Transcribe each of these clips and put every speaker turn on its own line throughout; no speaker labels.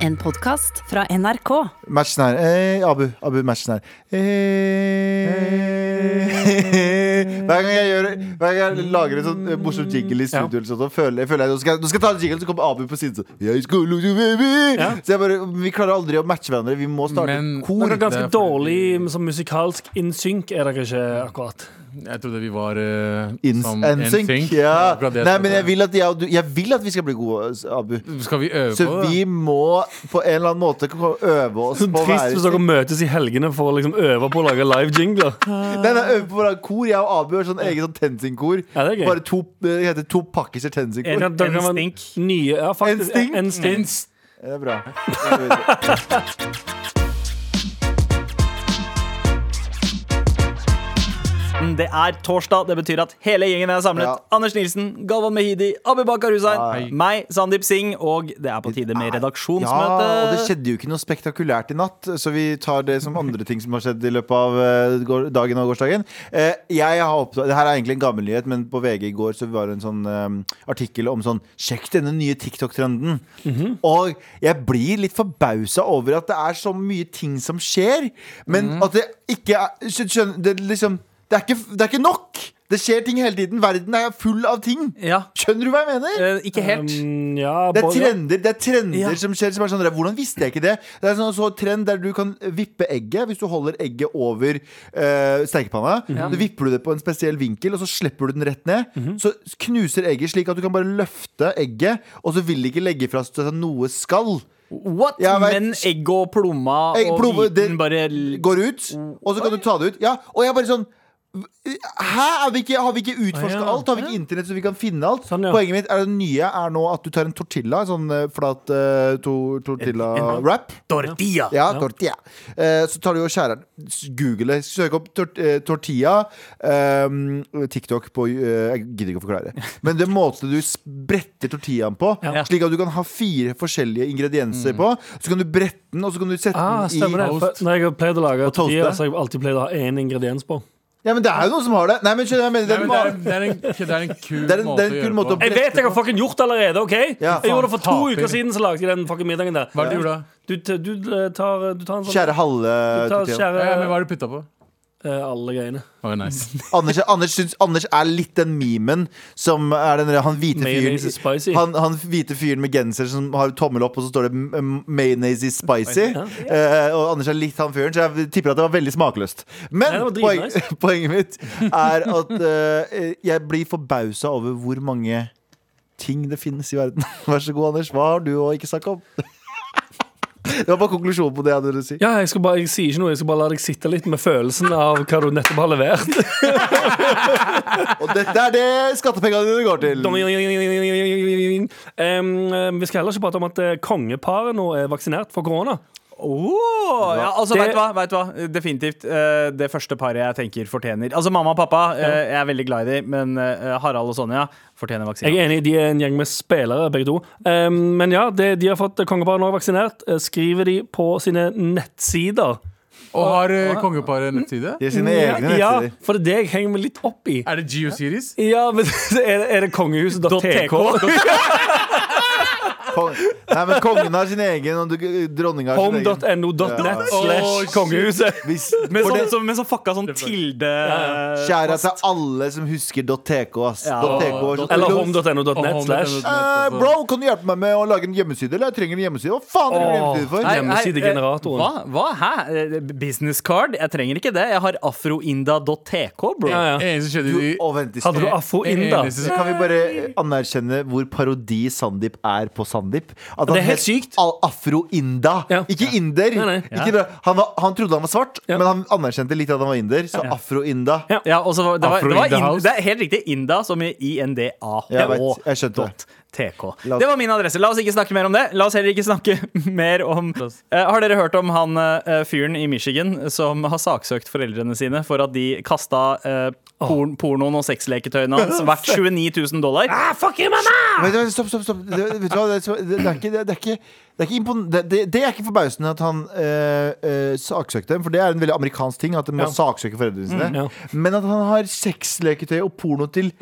En podkast fra NRK.
Matchen her. Eh, Abu, Abu, matchen her. Eh. Hver gang jeg gjør Hver gang jeg lager en sånn eh, morsom jingle i studio, eller sånt, så føler, jeg- føler jeg nå skal, jeg- nå skal jeg ta en jingle, så kommer Abu på siden sånn Jeg skal lose baby
Ja.
Så jeg bare, Vi klarer aldri å matche hverandre. Vi må starte
Men-
kor.
Noe ganske
Det er fordi-
dårlig som musikalsk innsynk er dere ikke akkurat.
Jeg trodde vi var uh,
In
som
NSYNC.
NSYNC.
Ja.
Akkurat det
Nei,
trodde
men jeg vil, at jeg, og du- jeg vil at vi skal bli gode, Abu.
Skal vi øve
Så
på det? Sånn
vi må på en eller annen måte ko- øve oss
Så
på å
Sånn trist hvis
være
dere møtes i helgene for å liksom øve på å lage live jingler.
Nei, nei, øve på å være kor. Jeg og Abu har sånn eget sånn TenSing-kor.
Ja, det er gøy. sånn-
Bare to, eh, det heter to pakkiser TenSing-kor.
Da kan man-
stink.
Nye, ja,
En
faktisk,
stink?
En stink.
Det er bra.
Hm, Det er torsdag, det betyr at hele gjengen er samlet.
Ja.
Anders Nilsen, Galvan Mehidi, Abubakar Hussein,
Ja,
ja.
meg, Sandeep Singh, og det er på tide med
Ja,
redaksjonsmøte.
og det skjedde jo ikke noe spektakulært i natt, så vi tar det som andre ting som har skjedd i løpet av eh, går- dagen og gårsdagen. Eh, Jeg har oppdaget, det her er egentlig en gammel nyhet, men på VG i går så var det en sånn eh, artikkel om sånn Sjekk denne nye TikTok-trenden. Og jeg blir litt forbausa over at det er så mye ting som skjer, men at det ikke er skjø- Skjønner det, er liksom, det, er ikke, det er ikke nok! Det skjer ting hele tiden. Verden er full av ting.
Ja,
Skjønner du hva jeg mener?
eh, ikke helt.
Mm, ja,
Det er
både-
trender, det er trender
Ja.
som skjer som er sånn der, Hvordan visste jeg ikke det? Det er sånn så trend der du kan vippe egget Hvis du holder egget over eh, stekepanna Så vipper du det på en spesiell vinkel Og så slipper du den rett ned Så knuser egget slik at du kan bare løfte egget Og så vil det ikke legge fra seg noe skall
What?
Jeg vet-
Men egg og plomma
Egg,
og
plomme, det-
hviten bare l-
Går ut, og så kan du ta det ut Ja, og jeg er bare sånn Hæ? Er vi ikke, har vi ikke utforsket
Å, ja.
alt? Har vi ikke internett så vi kan finne alt?
Sånn, ja.
Poenget mitt er det nye er nå at du tar en tortilla En sånn eh, flat eh, to, tortilla-wrap
Tortilla!
Ja, tortilla. Eh, så tar du og skjærer den. S- Google det. Søk opp tort eh, tortilla. ehm, TikTok på eh, Jeg gidder ikke å forklare det. Men det er måten du bretter tortillaen på,
Ja.
slik at du kan ha fire forskjellige ingredienser på. Så kan du brette den, og så kan du sette
Ah,
den i
stemmer det. For Når jeg har pleid å lage
toaste.
tortilla, så har jeg alltid pleid å ha én ingrediens på.
Ja, men det er jo noen som har det. Nei, men skjønner du hva jeg
Nei, men det,
mener
er, det, er en, det er en kul
Det er en-
måte
det er en
å
kul
gjøre
måte
det
å-
på.
Jeg vet jeg har fucking gjort det allerede, OK?
Ja.
Jeg gjorde det for to
Faen, taper.
uker siden, så lagde jeg den fucking middagen der.
Hva er det du gjorde da?
Du, t- du, eh, tar, du tar en sånn
Skjære halve
Du tar
tortillaen.
Ja, ja, men
skjære
hva er det du putta på?
eh, alle greiene.
Å, nice.
Anders, Anders, syns, Anders er litt den memen som er den der- han hvite
Mayonnaise is
fyren
spicy.
han, han hvite fyren med genser som har tommel opp, og så står det m- m- 'mayonnaise is spicy'.
Ja.
Eh, og Anders er litt han fyren, så jeg tipper at det var veldig smakløst. Men
Nei, det var
poeng,
dritnice.
poenget mitt er at eh, jeg blir forbausa over hvor mange ting det finnes i verden. Vær så god, Anders. Hva har du å ikke snakke om? Det var bare konklusjonen på det jeg hadde å si.
Ja, jeg, skal bare, jeg sier ikke noe, jeg skal bare la deg sitte litt med følelsen av hva du nettopp har levert.
Og dette er det skattepengene dine går til.
Em, vi skal heller ikke prate om at eh, kongeparet nå er vaksinert for korona.
Oh, ja, altså,
Det-
vet du hva? Vet du hva? Definitivt. eh, det første paret jeg tenker fortjener Altså, mamma og pappa, eh, jeg er veldig glad i dem, men eh, Harald og Sonja fortjener
Jeg
vaksine.
er enig, De er en gjeng med spillere, begge to. Em, men ja, det, de har fått kongeparet nå er vaksinert. eh, Skriver de på sine nettsider.
Og har eh, kongeparet nettside?
De er sine egne
ja,
nettsider.
for det er det jeg henger meg litt opp i.
Er det GeoSeries?
Ja, men Er det, er det kongehuset.tk?
Kong, nei, men kongen har sin egen, og du- dronninga har sin egen.
Home.no.net
Å,
slash
shit.
kongehuset.
Hvis,
Med
for
sånn,
det,
som- med sånn fucka sånn Tilde
kjære til alle som husker .tk, ass.
Ja.
.tk var så-
Eller
Eh,
Og
home.no.net
home.no.net
slash
også.
Bro, kan du hjelpe meg med å lage en hjemmeside? Eller jeg trenger en hjemmeside. Hva faen trenger du en hjemmeside for?
Nei.
Hva?
Hjemmesidegeneratoren.
eh, Hva? Hæ? Eh, Business card? Jeg trenger ikke det. Jeg har afroinda.tk, bro.
Ja, ja.
Det eneste skjedde i
Du, å, vent litt.
Hadde du afroinda?
eneste som-
Kan vi bare anerkjenne hvor parodi Sandeep er på Sandeep? At
Det er
han
helt
het
sykt.
Al- Afro-Inda.
Ja.
Ikke inder.
Nei, nei.
Ikke bra. Han, var, han trodde han var svart,
Ja.
men han anerkjente litt at han var inder. Så Afro-Inda.
Ja.
Ja, og så var, det, var, det,
Afro
var
in the
in,
house.
det er helt riktig. Inda, som i
Jeg vet,
INDAH.
jeg skjønte det.
TK.
La oss-
Det var min adresse. La oss ikke snakke mer om det. La oss heller ikke snakke mer om Eh, Har dere hørt om han eh, fyren i Michigan som har saksøkt foreldrene sine for at de kasta eh, porn, pornoen og sexleketøyene hans verdt 29 000 dollar?
Ah, fuck you, mamma!
Vent, vent, stopp, stopp, stopp. Det, vet du hva? Det, er så- det, det, er ikke, det, det er ikke det, er ikke impon- det, det, det er ikke forbausende at han eh, eh, saksøkte dem, for det er en veldig amerikansk ting. At de må
Ja.
saksøke foreldrene sine.
ja.
Men at han har sexleketøy og porno til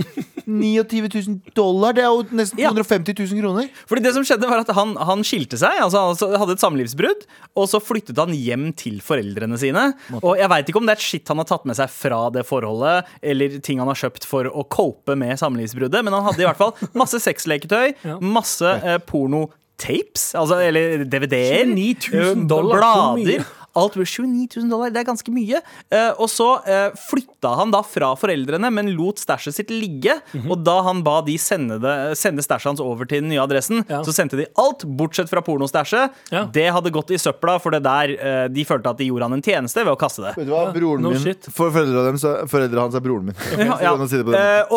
29 000 dollar, det er jo nesten
Ja.
250 000 kroner.
Fordi det som skjedde var at han, han skilte seg, altså han altså hadde et samlivsbrudd, og så flyttet han hjem til foreldrene sine. Og jeg veit ikke om det er shit han har tatt med seg fra det forholdet, eller ting han har kjøpt for å cope med samlivsbruddet, men han hadde i hvert fall masse sexleketøy,
Ja.
masse eh, porno. Tapes, altså, eller DVD-er.
29 000 dollar, så mye.
eh, Blader. Alt ble 29 000 dollar, det er ganske mye. Eh, og så eh, flytta han da fra foreldrene, men lot stæsjet sitt ligge. Og da han ba de sende, det- sende stæsjet hans over til den nye adressen,
Ja.
så sendte de alt, bortsett fra pornostæsjet.
Ja.
Det hadde gått i søpla, for det der eh, de følte at de gjorde han en tjeneste ved å kaste det.
Vet du hva, broren
no
min
shit.
For foreldrene dem, så- foreldrene hans er broren min. Så
Ja.
kan man si det på den måten.
Eh,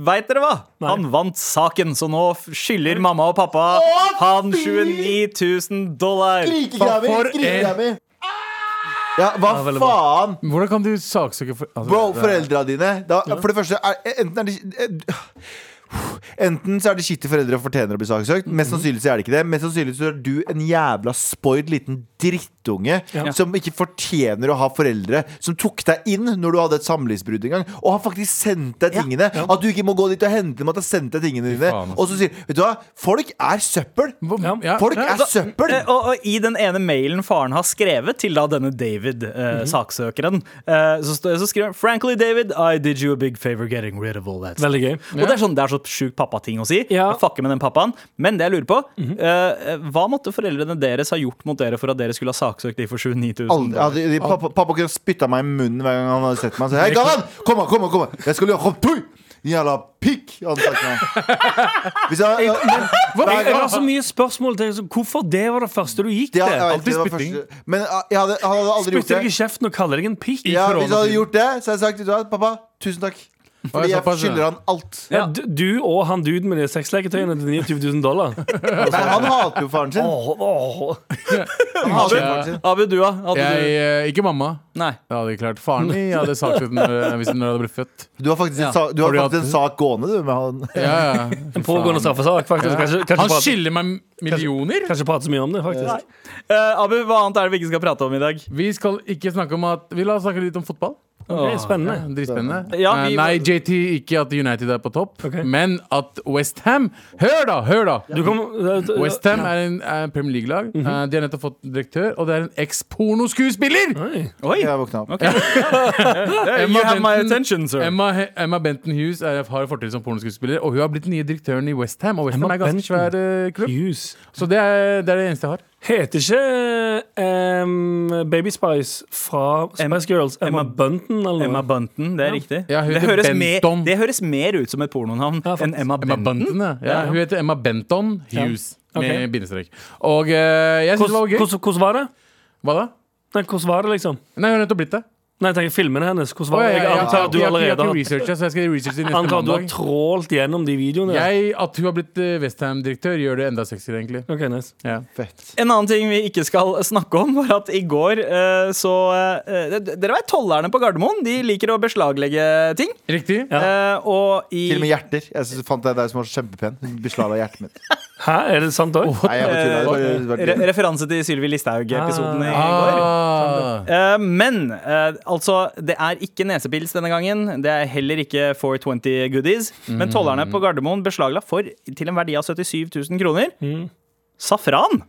og veit dere hva?
Nei.
Han vant saken, så nå f- skylder mamma og pappa han 29 000 dollar.
Skrikegrammi!
for en-
Skrikegrammi! Ja, hva
Ja, veldig bra.
faen?
Hvordan kan du saksøke for, altså,
Bro,
det er-
foreldra dine da, For det første, er, enten er de eh, Enten så er de skittige foreldre og fortjener å bli saksøkt. Mest
Mhm.
sannsynlig så er det ikke det. Mest sannsynlig så er du en jævla spoiled liten drittunge som ikke fortjener å ha foreldre som tok deg inn når du hadde et samlivsbrudd en gang, og har faktisk sendt deg tingene. At du ikke må gå dit og hente dem, at de har sendt deg tingene dine.
faen, ass.
Og så sier Vet du hva, folk er søppel!
Hvor-
Ja.
ja,
Folk
ja.
er søppel!
Eh, Og, og i den ene mailen faren har skrevet til da denne David, eh, saksøkeren, eh, så, stå- så skriver han Frankly, David, I did you a big favor getting rid of all that. stuff."
Veldig gøy.
Og det er sånn, det er så sjukt pappating å si.
Ja.
Jeg fucker med den pappaen. Men det jeg lurer på, eh, hva måtte foreldrene deres ha gjort mot dere for at dere skulle ha saksøkt de for 29 000?
Aldri, ja, de, de, pappa, pappa kunne spytta meg i munnen hver gang han hadde sett meg. Så, Hei, Galvan! Kom, her, kom, her, kom! her. Jeg skal gjøre hopp, tui! Jævla pikk! Hadde han sagt meg. Hvis jeg, ja, men,
Jeg, jeg har så mye spørsmål til så Hvorfor det var det første du gikk
det,
til?
jeg vet ikke, det var
spytting.
første, men ja, jeg hadde, han hadde aldri gjort
Spytter deg
det.
i kjeften og kaller deg en pikk. i
Ja, hvis jeg hadde
koronatiden.
gjort det, så hadde jeg sagt vet du hva, pappa, tusen takk. Fordi jeg
såpass, ja.
skylder han alt.
Ja, du, du og han duden med de sexleketøyene til 29 000 dollar.
Nei, han hater jo faren sin.
Åh, åh.
Han hater jo faren sin.
Abu, du, da? Hadde
Jeg, eh, ikke
du-
mamma.
Nei.
Det hadde jeg klart. Faren min hadde saksøkt den når- hvis den hadde blitt født.
Du har faktisk en, sa, du har
Fordi
faktisk en sak gående, du, med han.
Ja, ja.
En pågående straffesak, faktisk. Kanskje, kanskje,
Han
prate,
skylder meg millioner!
kanskje prate så mye om det, faktisk.
Eh, Abu, hva annet er det vi ikke skal prate om i dag?
Vi skal ikke snakke om at Vi la oss snakke litt om fotball.
Ok, Ah, spennende.
Dritspennende.
Ja, vi-
Eh, Nei, JT, ikke at United er på topp,
Ok.
men at Westham Hør, da! Hør, da!
Du kom,
Westham er en er en Premier League-lag.
Mhm.
Eh, De har nettopp fått direktør, og det er en eks-pornoskuespiller!
Oi.
Oi!
Jeg våkna opp.
you have my attention, sir.
Emma, He- Emma Benton Hughes er, har fortid som pornoskuespiller, og hun har blitt den nye direktøren i Westham. Og Westham
Emma
er ganske
Benton
svær eh, klubb.
Hughes.
Så det er, det er det eneste jeg har.
Heter ikke ehm, Baby Spice fra
Emma-
Spice Girls Emma,
Emma-
Bunton eller
Emma
noe?
Bunton, det er riktig.
Ja, hun
det,
heter
høres mer,
Benton.
det høres mer ut som et pornonavn
Ja,
enn
faktisk.
Emma
Emma
Benton.
Benton, ja. ja. Hun heter Emma Benton Hughes.
Ja. Ok.
Med bindestrek. Og eh, jeg syns det var
Hvordan
gøy.
hvordan var det?
Hva da?
Nei, hvordan var det, liksom?
Nei, hun har nettopp blitt det.
Nei, jeg tenker filmene hennes. Hvordan var
Å,
det?
ja, ja,
Jeg
ja.
antar at du
Jeg har ikke-
allerede
Jeg har
har
ikke researcha, så jeg skal researche det neste
Antar at du har
mandag.
trålt gjennom de videoene?
Jeg, at hun har blitt eh, Westham-direktør, gjør det enda sexyere, egentlig.
Ok, nice.
Ja.
Fett.
En annen ting vi ikke skal snakke om, var at i går eh, så eh, d- Dere vet tollerne på Gardermoen. De liker å beslaglegge ting.
Riktig?
Ja.
Eh, og i
Til og med hjerter. Jeg synes, fant deg der som var så kjempepen. Hun Beslagla hjertet mitt.
Hæ, er det sant òg?
Nei, jeg bare tuller. Det var- det var-
re referanse til Sylvi Listhaug-episoden i går.
Ah,
Eh, men eh, altså, det er ikke nesepils denne gangen. Det er heller ikke 420 goodies. Men tollerne på Gardermoen beslagla for til en verdi av 77 000 kroner safran.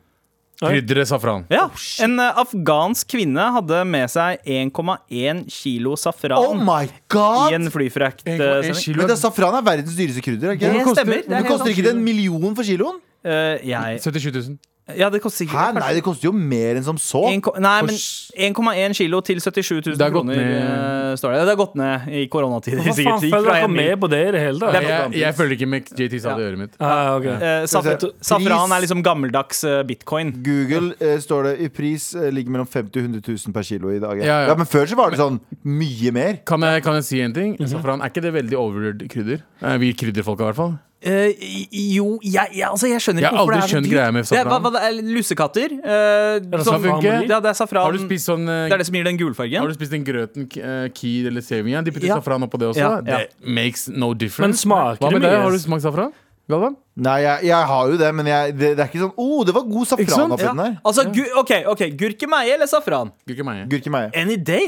krydderet safran.
Ja,
Oh,
En eh, afghansk kvinne hadde med seg 1,1 kilo
Oh
safran
my
i
god!
en flyfrakt. eh,
En
sending.
kilo
Men det, er safran er verdens dyreste krydder. er Ikke?
Det
det?
stemmer. Det er
Men
helt
det koster
sant.
ikke det en million for kiloen?
Eh, jeg,
77 000.
ja, det koster
Hæ?
sikkert
Nei, det koster jo mer enn som så.
En ko- Nei,
For
men
s-
1,1 kilo til 77 000
Det har gått
kroner,
ned.
eh, står det. Det har gått ned i koronatider.
Hva faen
sikkert. Det gikk
følger
fra
dere
en mil.
med på det i det hele tatt?
Det er
Jeg,
gammelt.
jeg følger ikke med JT sa det i øret mitt.
Ah, ok.
Eh, safra-
Skal vi se.
Safran
Pris.
er liksom gammeldags eh, bitcoin.
Google eh, står det i pris eh, ligger mellom 50 og 100 000 per kilo i dag. Ja,
Ja, ja.
Men før så var det sånn mye mer.
Kan jeg, kan jeg si en ting?
Mhm.
Safran, er ikke det veldig overvurdert krydder? Eh, Vi krydderfolka, i hvert fall.
Eh, jo, jeg, jeg, altså, jeg skjønner
Jeg
ikke
har
hvorfor
aldri
det er så
skjønt
dyrt.
greia med
Det er, hva,
safran.
hva, det er lussekatter. eh,
det
som-
safran
man liker?
ja, det er safran.
Har du
Um,
spist sånn eh,
det er det som gir den gulfargen.
Har du spist den grøten k- eh, Kid eller Sevignan? De putter
Ja.
safran oppå det også.
Ja, ja.
Det makes no difference.
Men smaker
Hva
det mye?
med deg? Har du smakt safran? Galvan?
Nei, jeg, jeg har jo det, men jeg, det, det er ikke sånn Å, oh, det var god
Ikke sant?
safran oppi
Ja.
den der.
Altså, gu OK, ok, gurkemeie eller safran?
Ikke meg.
Gurke meg.
Any day.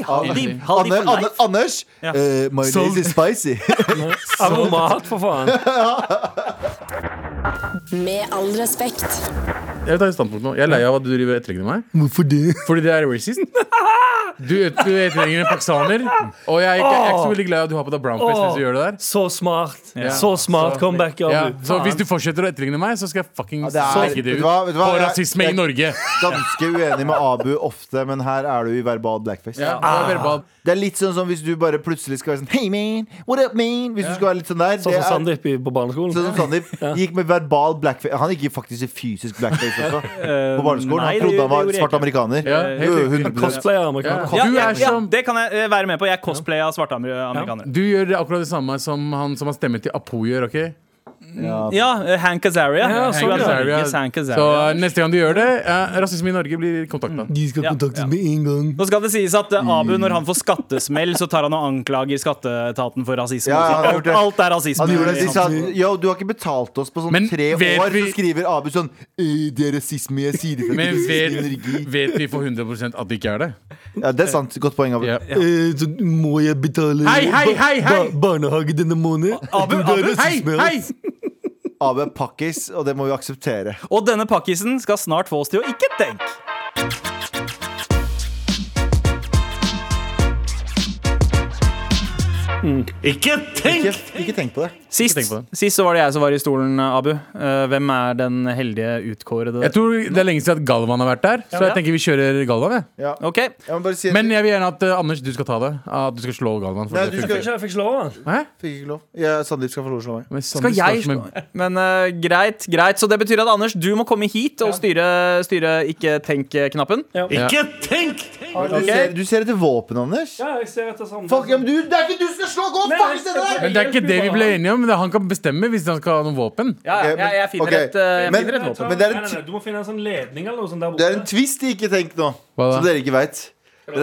Haldi.
Haldi, haldi
Anne,
for
Anne,
life.
Anders,
Ja. Sånn.
eh, mayonnaise is spicy.
Aromat, for faen.
Med all respekt.
Jeg tar et standpunkt nå. Jeg er lei av at du driver og etterligner meg.
Hvorfor det?
Fordi det er racist. Du, du etterligner en pakistaner. Og jeg er ikke, jeg er ikke så veldig glad i at du har på deg brownface mens du gjør det der.
Så smart.
Ja.
Så smart
Så-
comeback. av
Ja,
du.
så
Faen.
hvis du fortsetter å etterligne meg, så skal jeg fucking
det er-
strekke det
vet du
ut
hva- vet du
på
hva, jeg-
rasisme i
jeg-
Norge.
Ganske uenig med Abu ofte, men her er du i verbal blackface.
Ja, det er verbal.
Det er litt sånn som hvis du bare plutselig skal være sånn Hey man, what up man? Hvis du skal være litt sånn der.
Sånn
det
som
er-
Sandeep i- på barneskolen.
Sånn som Sandeep gikk med verbal blackface Han gikk faktisk i fysisk blackface også. På barneskolen. Han
nei, det-
trodde han
det
var
gjorde jeg
svart
ikke.
amerikaner.
Ja, helt
Jo,
riktig.
100%.
Cosplayer amerikaner.
Ja.
Ja,
Du
ja,
er
ja,
som-
det kan jeg eh, være med på. Jeg cosplayer av svarte amer- amerikanere.
Du gjør akkurat det samme som han som har stemme til Apo gjør. ok?
Ja, eh, Hank Azaria.
Ja,
Du
sånn, ja.
er Zarya,
Azaria.
ikke Hank
Så
Azaria.
eh, neste gang du gjør det, eh, rasisme i Norge blir kontakta.
De skal
Ja, ja.
med en gang.
Nå skal det sies at eh, Abu,
Mm.
når han får skattesmell, så tar han og anklager skatteetaten for rasisme.
Ja,
og sier
han har gjort
alt,
det.
alt er rasisme.
Han gjorde det, de
Sånn.
sa Yo, du har ikke betalt oss på sånn
Men
tre
vet
år.
vi-
Så skriver Abu sånn «Eh, Det er rasisme, jeg sier det for
Men
ikke
vet,
rasisme i Norge».
vet vi for 100 at det ikke er det?
Ja, det er sant. Godt poeng, Abu. Eh,
Ja.
Så må jeg betale
Hei, hei, hei, hei!
ba- barnehage denne måneden?
Abu,
Det er
Abu,
Hei,
rasisme,
hei!
ass.
Abu er pakkis, og det må vi akseptere.
Og denne pakkisen skal snart få oss til å ikke tenke.
Mm. Ikke tenk!
Ikke, ikke tenk på det.
Sist,
Ikke tenk på det.
sist så var det jeg som var i stolen, Abu. Eh, hvem er den heldige utkårede?
Jeg tror det er lenge siden at Galvan har vært der, så
Ja.
jeg tenker vi kjører Galvan. Jeg.
Ja.
OK.
Jeg må bare si at
Men jeg vil gjerne at eh, Anders, du skal ta det. At du skal slå Galvan. For
Nei,
det
du
funker.
skal-
Ikke jeg fikk slå han.
Fikk ikke lov. Ja, Sandeep skal få lov å slå meg.
Men Sander
Skal jeg
som
slå?
en-
Men eh, greit, greit. Så det betyr at Anders, du må komme hit og styre, styre ikke tenk-knappen.
Ikke tenk!
Du, ser, du ser etter våpen, Anders.
Ja, jeg ser etter samme.
Fuck, ja, men du, det er ikke du som skal slå! Gå og
Nei,
fuckings det der!
Men det er ikke det vi ble enige om. Det er Han kan bestemme hvis han skal ha noen våpen.
Ja, ja,
Ok, men-
jeg, jeg finner
ok.
et, eh, jeg
Men-
finner et våpen.
Men det er en
Nei, nei, nei, Du må finne en sånn ledning eller noe sånt der
Det er en twist de ikke tenkt nå,
Hva da?
som dere ikke veit.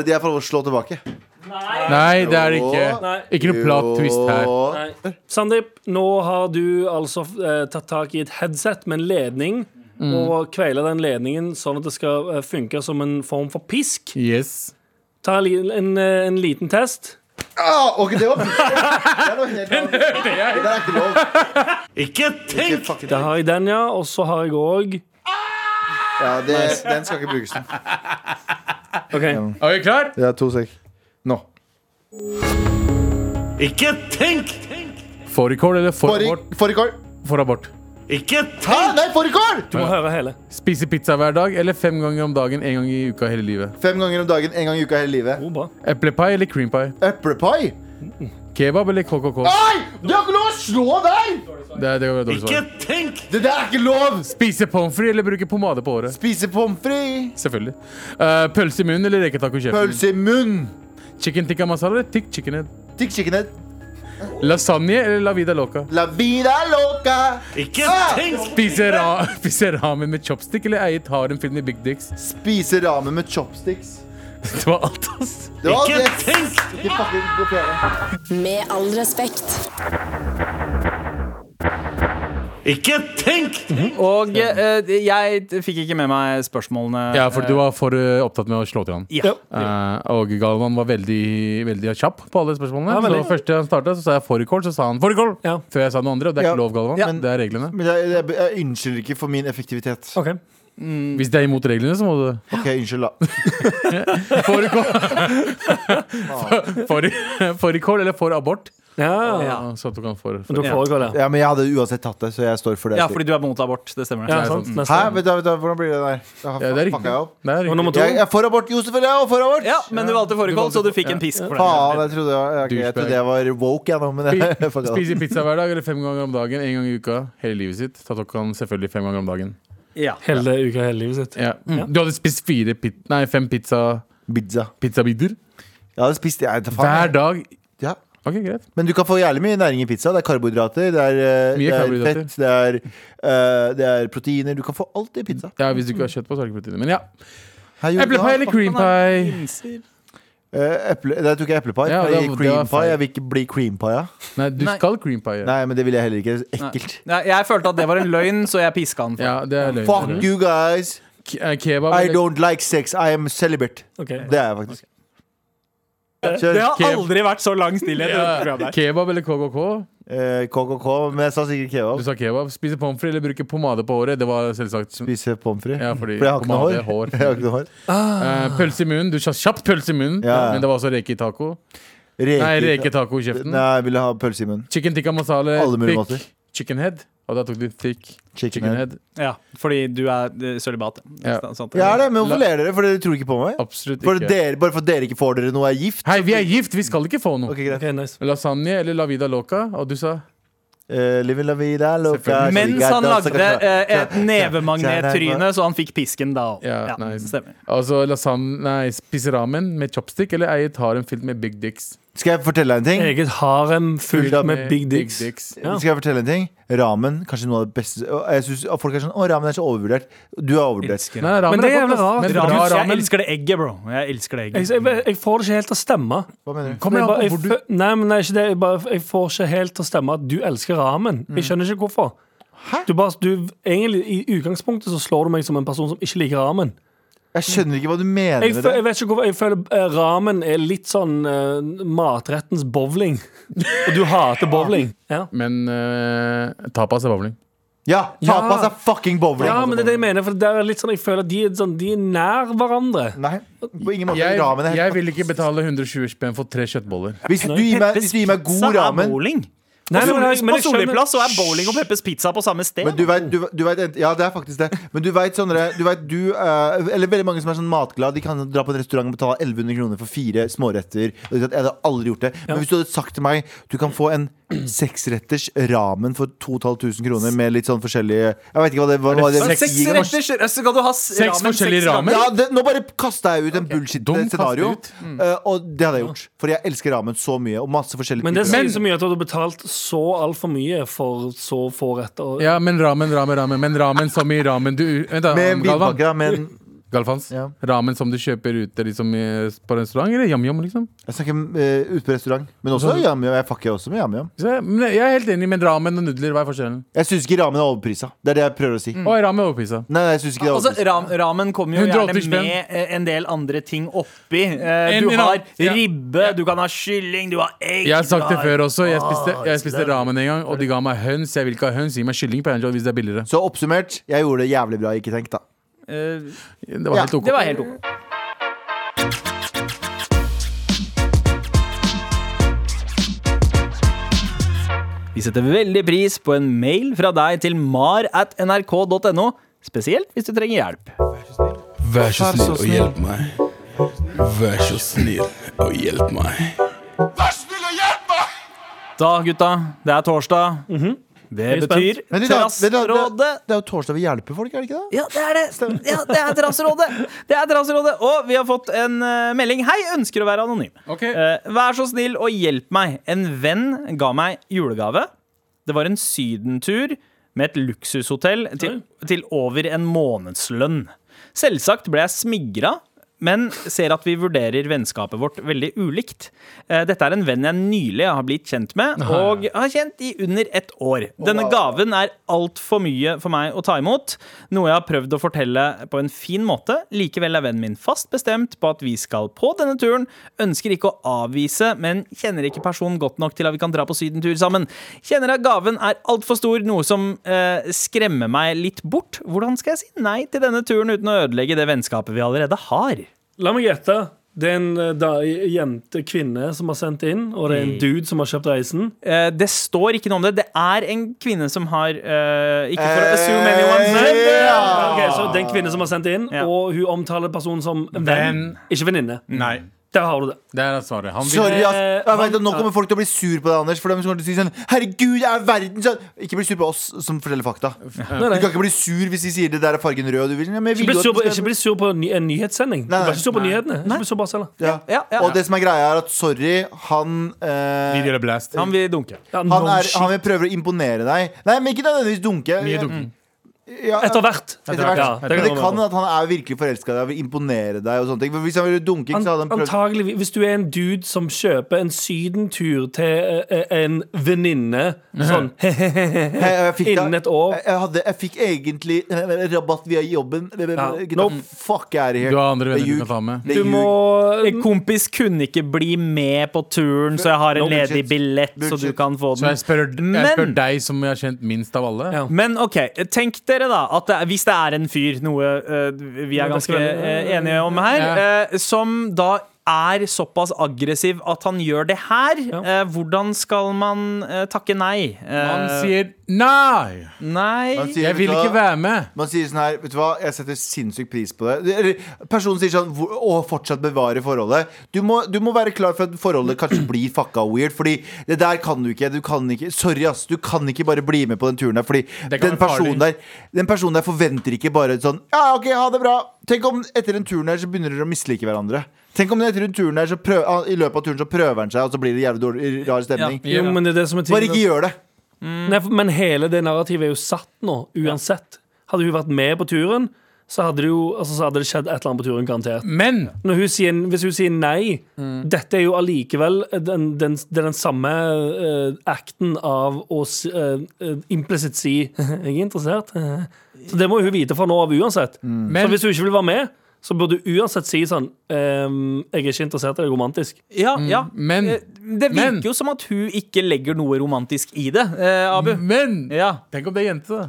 Jeg får lov å slå tilbake.
Nei, det er det ikke.
Nei.
Ikke noe plat twist her.
Jo.
Nei. Sandeep, nå har du altså eh, tatt tak i et headset med en ledning. Og kveile den ledningen sånn at det skal eh, funke som en form for pisk.
Yes.
Ta en, li- en, eh, en liten test.
Ah, ok, det var Det er noe helt annet. Det der er ikke lov.
Ikke
Ikke
tenk!
fucking-
Der har jeg den, ja. Og så har jeg òg
Ja, det, den skal ikke brukes.
Er vi klar?
Det er to sek. Nå.
Ikke tenk!
Fårikål eller for abort?
Fårikål. Fårikål.
For abort.
Ikke tenk!
Hæ? Ah, Nei, fårikål!
Du må høre hele.
Spise pizza hver dag eller fem ganger om dagen en gang i uka hele livet?
Fem ganger om dagen, én gang i uka hele livet.
Oh, bra.
Eplepai eller cream pie?
Eplepai?
Kebab eller KKK?
Nei! Du har ikke lov å slå der!
Det, det var et dårlig
Ikke
svar.
tenk!
Det der er ikke lov!
Spise pommes frites eller bruke pomade på håret?
Spise pommes frites.
Selvfølgelig. Eh, pølse i munnen eller reketaco i kjeften?
Pølse i munn.
Chicken tikka masala eller tikk chicken head?
Tikk chickenhead.
Lasagne eller la vida loca?
La vida loca.
Ikke
Ah!
tenk!
Spise, ra spise ramen med chopstick eller eie Taren-film i Big Dicks?
Spise ramen med chopsticks.
Det var alt, ass.
Det var
Ikke
det.
tenk!
Ikke fucking kopiere.
Med all respekt.
Ikke tenk!
Og eh, jeg fikk ikke med meg spørsmålene.
Ja, for du var for eh, opptatt med å slå til han.
Ja.
Eh, og Galvan var veldig, veldig kjapp på alle spørsmålene.
Ja, veldig.
så Første han starta, sa jeg fårikål, så sa han fårikål!
Ja.
Før jeg sa noe andre, og det er
Ja.
ikke lov, Galvan.
Ja.
Det er reglene.
Men jeg, jeg, jeg unnskylder ikke for min effektivitet.
OK.
Hvis det er imot reglene, så må du
Ok, unnskyld, da.
Fårikål Fåri- Fårikål eller for abort.
Ja.
Ja.
Så du kan for,
Men da
Ja.
foregår det.
Ja, men jeg hadde uansett tatt det, så jeg står for det.
ja, fordi du er mot abort. Det stemmer.
Ja,
det.
sant. Neste.
Hæ? Vent, da, vent, da, hvordan blir det der? Da
Ja, det er
fucka
riktig.
jeg opp.
Det er
Og
riktig.
nummer to.
Jeg, jeg er for abort. Jo, selvfølgelig er jeg for abort!
Ja, men du valgte fårikål, så du fikk
Ja.
en pisk. for det.
Faen, jeg trodde jeg, ok, jeg trodde jeg var woke, jeg nå, men jeg fucka det opp.
Spise pizza hver dag eller fem ganger om dagen en gang i uka hele livet sitt. Da tok han selvfølgelig fem ganger om dagen.
Ja.
Hele uka, hele livet sitt.
Ja. Mm.
Mm.
Du hadde spist fire pit nei, fem pizza
Pizza.
pizzabiter
Ja, det spiste jeg. Faen,
hver dag.
Ja.
Ok, greit.
Men du kan få jævlig mye næring i pizza. Det er karbohydrater, det er, eh,
Mye
det er
karbohydrater.
fett, det er, eh, det er proteiner. Du kan få alt i pizza.
Ja, Hvis du ikke har kjøtt på, så har du ikke proteiner. Men ja.
Her gjorde du
Eplepai
det.
eller cream pie?
Linser.
Eh, eple, nei, jeg tok ikke eplepai.
Ja,
jeg
det-
gikk
det var
cream pie.
feil.
Jeg vil ikke bli cream pie. Ja.
Nei, du
Nei.
skal cream pie. Ja,
Nei, men det vil jeg heller ikke. Det er så ekkelt.
Nei, jeg følte at det var en løgn, så jeg piska han. for
ja det er løgn.
Fuck you guys!
Ke- eh, Kebab
I
eller
don't like sex. I am celibate.
Ok.
Det er jeg faktisk. Kjør
Det har
Kev-
aldri vært så lang stillhet. i dette programmet
ja,
her.
Kebab eller KKK?
eh, KKK, men jeg sa sikkert
Du
kebab.
sa kebab. Spise pommes frites eller bruke pomade på håret? Det var selvsagt
Spise pommes frites.
ja, fordi
For jeg har ikke
pomade,
noe hår. Jeg har ikke noe hår.
Eh, pølse i munnen. Du sa kjapt pølse i munnen,
Ja, ja.
men det var også reke i taco.
Reke.
Nei, reke taco i kjeften.
Nei, jeg ville ha pølse i munnen.
Chicken tikka masala,
Alle mulige måter.
thick, chicken head. Og da tok du thick
Chicken
chicken
head.
head.
Ja, fordi du er eh, sølibat. sånn.
Ja.
Sant?
Jeg er det, men hvorfor ler dere? For dere tror ikke på meg?
Absolutt
For
ikke.
dere, bare for dere ikke får dere noe er gift?
Hei, vi er gift! Vi skal ikke få noe.
Ok, greit.
Ok, nice.
Lasagne eller la vida loca? Og du sa
Eh, living la vida loca
Selvfølgelig.
Mens han
Chica,
lagde
dansa,
eh, et nevemagnettryne, så han fikk pisken da òg.
Ja, nice.
stemmer.
altså lasagne Nei, spise ramen med chopstick eller eie et harem fylt med big dicks?
Skal jeg fortelle deg en ting?
Eget harem
Fullt av
fullt med big dicks. Ja.
Skal jeg fortelle en ting? Ramen, kanskje noe av det beste og jeg synes, og Folk er sånn 'Å, ramen er så overvurdert'. Du er overvurdert.
Elsker
Nei,
det.
ramen
Men det er
godt,
jævlig
ass.
rart.
Men
Ramen,
bra
jeg
ramen.
elsker det egget, bro. Jeg elsker det
Jeg,
egget.
jeg, jeg får det ikke helt til å stemme.
Hva mener du?
Kom igjen,
jeg, bare-
på
jeg,
hvor du
fø- nei, men nei, ikke det, jeg, bare, jeg får ikke helt til å stemme at du elsker ramen. Jeg skjønner ikke hvorfor. Du bare, du, egentlig, I utgangspunktet så slår du meg som en person som ikke liker ramen.
Jeg skjønner ikke hva du mener
Jeg,
med
fø-
det.
jeg vet ikke hvorfor Jeg føler eh, ramen er litt sånn eh, matrettens bowling. Og du hater bowling. Ja.
Men eh, tapas er bowling.
Ja, tapas er fucking bowling.
ja, men det er det jeg mener. For det er litt sånn, jeg føler at de, er sånn, de er nær hverandre.
Nei, på ingen måte.
Jeg,
ramen er
jeg
helt
vil ikke betale 120 spenn for tre kjøttboller.
hvis, du gir meg, hvis du gir meg god ramen
bowling.
Nei, Altså, men- men jeg
På
skjønner-
Soliplass så er bowling og Peppers Pizza på samme sted.
men du vet, du, du vet, Ja, det er faktisk det. Men du vet sånne Du vet du eh, Eller veldig mange som er sånn matglad, de kan dra på en restaurant og betale 1100 kroner for fire småretter. Og de sier at Jeg hadde aldri gjort det. Men hvis du hadde sagt til meg du kan få en seksretters ramen for 2500 kroner med litt sånn forskjellige Jeg vet ikke hva det var. Hva det,
Seks retter, så skal du ha s-
Seks
ramen
forskjellige
seks ganger.
ramen?
ja, det, nå bare kasta jeg ut en
Dum kastet
bullshit-scenario.
ut.
eh, og det hadde jeg gjort. For jeg elsker ramen så mye. Og masse forskjellige
Mm. Men det
typer.
sier så mye at du har betalt så altfor mye for så få retter.
Ja, men ramen, ramen, ramen. Men ramen som i ramen du Vent, da.
Med en
Galvan.
vinpakke, da. Med en
Galvans.
Ja.
Ramen som du kjøper ute liksom, i- på restaurant, eller yam-yam, liksom?
Jeg snakker uh, ute på restaurant, men også yam-yam. Jeg fucker også med yam-yam.
Så jeg, men jeg er helt enig, men ramen og nudler, hva er forskjellen?
Jeg syns ikke ramen er overprisa. Det er det jeg prøver å si.
Mm.
Å, ramen er overprisa.
Nei, nei, jeg synes ikke det er
Altså,
overprisa
ram, ramen kommer jo
180
gjerne
spenn.
med eh, en del andre ting oppi. Eh,
En-
Du
en
har
annen- ja.
ribbe, du kan ha kylling, du har egg
Jeg har sagt
du
det
har-
før også. Jeg spiste, jeg spiste ramen en gang, og de ga meg høns. Jeg vil ikke ha høns. Gi meg kylling på Angel hvis det er billigere.
Så oppsummert, jeg gjorde det jævlig bra. Ikke tenk, da.
Eh,
Det var
Ja,
helt ok.
Det var helt ok. Vi setter veldig pris på en mail fra deg til mar at nrk.no, spesielt hvis du trenger hjelp.
Vær så snill og hjelp meg. Vær så snill og hjelp meg.
Da, gutta, det er torsdag.
Mhm.
Det betyr
Men det, det, det, det,
Terrasserådet.
det er jo torsdag vi hjelper folk, er det ikke det?
Ja, det er det. Ja, det er Terrasserådet. Det er Terrasserådet. Og vi har fått en eh, melding. Hei, ønsker å være anonym.
Ok.
Eh, vær så snill og hjelp meg. En venn ga meg julegave. Det var en sydentur med et luksushotell til, til over en månedslønn. Selvsagt ble jeg smigra. Men ser at vi vurderer vennskapet vårt veldig ulikt. Eh, Dette er en venn jeg nylig har blitt kjent med, og har kjent i under ett år. Denne gaven er altfor mye for meg å ta imot, noe jeg har prøvd å fortelle på en fin måte. Likevel er vennen min fast bestemt på at vi skal på denne turen. Ønsker ikke å avvise, men kjenner ikke personen godt nok til at vi kan dra på sydentur sammen. Kjenner at gaven er altfor stor, noe som eh, skremmer meg litt bort. Hvordan skal jeg si nei til denne turen uten å ødelegge det vennskapet vi allerede har?
La meg gjette. Det er en eh, da, jente, kvinne, som har sendt inn, og det er en
Mm.
dude som har kjøpt reisen.
Eh, det står ikke noe om det. Det er en kvinne som har eh, Ikke for å assume anyone's name.
Eh, Ok, så det er en kvinne som har sendt inn,
Ja.
og hun omtaler personen som venn,
Venn. Mm.
ikke venninne.
Nei.
Der har du det.
Det er svaret. Han vil
Sorry, ass.
Eh,
Jeg vet, at nå
han-
kommer folk til å bli sur på deg, Anders. For de kommer til å si sånn Herregud, jeg er verden sånn Ikke bli sur på oss som forteller fakta. Du
nei.
kan ikke bli sur hvis de sier det der er fargen rød. og Du vil, ja, men jeg vil
Ikke bli
jo
sur på,
at du
ikke
skal-
bli sur på en ny, en nyhetssending. Du
Nei,
var ikke sur på nyhetene. Ikke bli sur på oss heller.
ja.
Ja, ja.
Og det som er greia, er at sorry, han eh,
Video eller blast.
Han vil dunke.
Ja,
Han,
no
er,
shit.
han vil prøve å imponere deg. Nei, men ikke nødvendigvis dunke.
Mye dunking.
Ja,
Etter hvert.
Etter hvert.
Ja,
Men det
være.
kan at han er virkelig forelska i deg og vil imponere deg. og sånne ting For Hvis han ville dunking, så hadde han prøvd
Antagelig, hvis du er en dude som kjøper en sydentur til eh, en venninne sånn
Hei, jeg fikk da-
innen et år.
Jeg, jeg, hadde, jeg fikk egentlig eh, rabatt via jobben.
Ja.
Get the
Nope.
Fuck er det her.
Du har andre
Det er
venner du
ljug.
kan ta med.
Det er
Du må
ljug.
En kompis kunne ikke bli med på turen, så jeg har en
No,
ledig
bullshit.
billett, så
Bullshit.
du kan få
Så
den.
jeg spør, jeg
Men-
spør deg, som jeg har kjent minst av alle.
Ja.
Men OK, tenk dere da at det, er- hvis det er en fyr, noe eh, vi er
det
ganske
skal være-
eh, enige om her,
Ja.
eh, som da er såpass aggressiv at han gjør det her, eh, hvordan skal man eh, takke nei?
Han
Eh,
sier nei!
nei
Man sier,
Jeg vil
vet du
ikke
hva?
være med.
Man sier sånn her, vet du hva, jeg setter sinnssykt pris på det. Eller, Personen sier sånn, hvor- å, fortsatt bevare forholdet. Du må, du må være klar for at forholdet kanskje blir fucka weird, fordi det der kan du ikke. Du kan ikke, sorry ass, du kan ikke bare bli med på den turen der, fordi
Det kan
den
være farlig.
personen der, den personen der forventer ikke bare et sånn, ja, ok, ha det bra. Tenk om etter den turen her så begynner dere å mislike hverandre. Tenk om etter den turen her, så prøv, i løpet av turen så prøver han seg, og så blir det jævlig dårlig, rar stemning.
Jo, men det er det som er
Bare
tingen.
ikke gjør det.
Mm.
Nei, for- men hele det narrativet er jo satt nå, uansett. Hadde hun vært med på turen, så hadde det jo altså, så hadde det skjedd et eller annet på turen, garantert.
Mm.
Men
Når hun sier, hvis hun sier nei, dette er jo allikevel eh, den, den, det er den samme eh, acten av å s- eh, eh, implisitt si 'jeg er interessert'. Så det må hun vite fra nå av uansett.
Mm.
Men-
så hvis hun ikke vil være med, så burde hun uansett si sånn ehm, 'Jeg er ikke interessert i deg romantisk'.
Ja, ja.
men-
Eh, det virker
men-
jo som at hun ikke legger noe romantisk i det, eh, Abu.
Mm.
Men!
Ja.
Tenk om det er jente, da.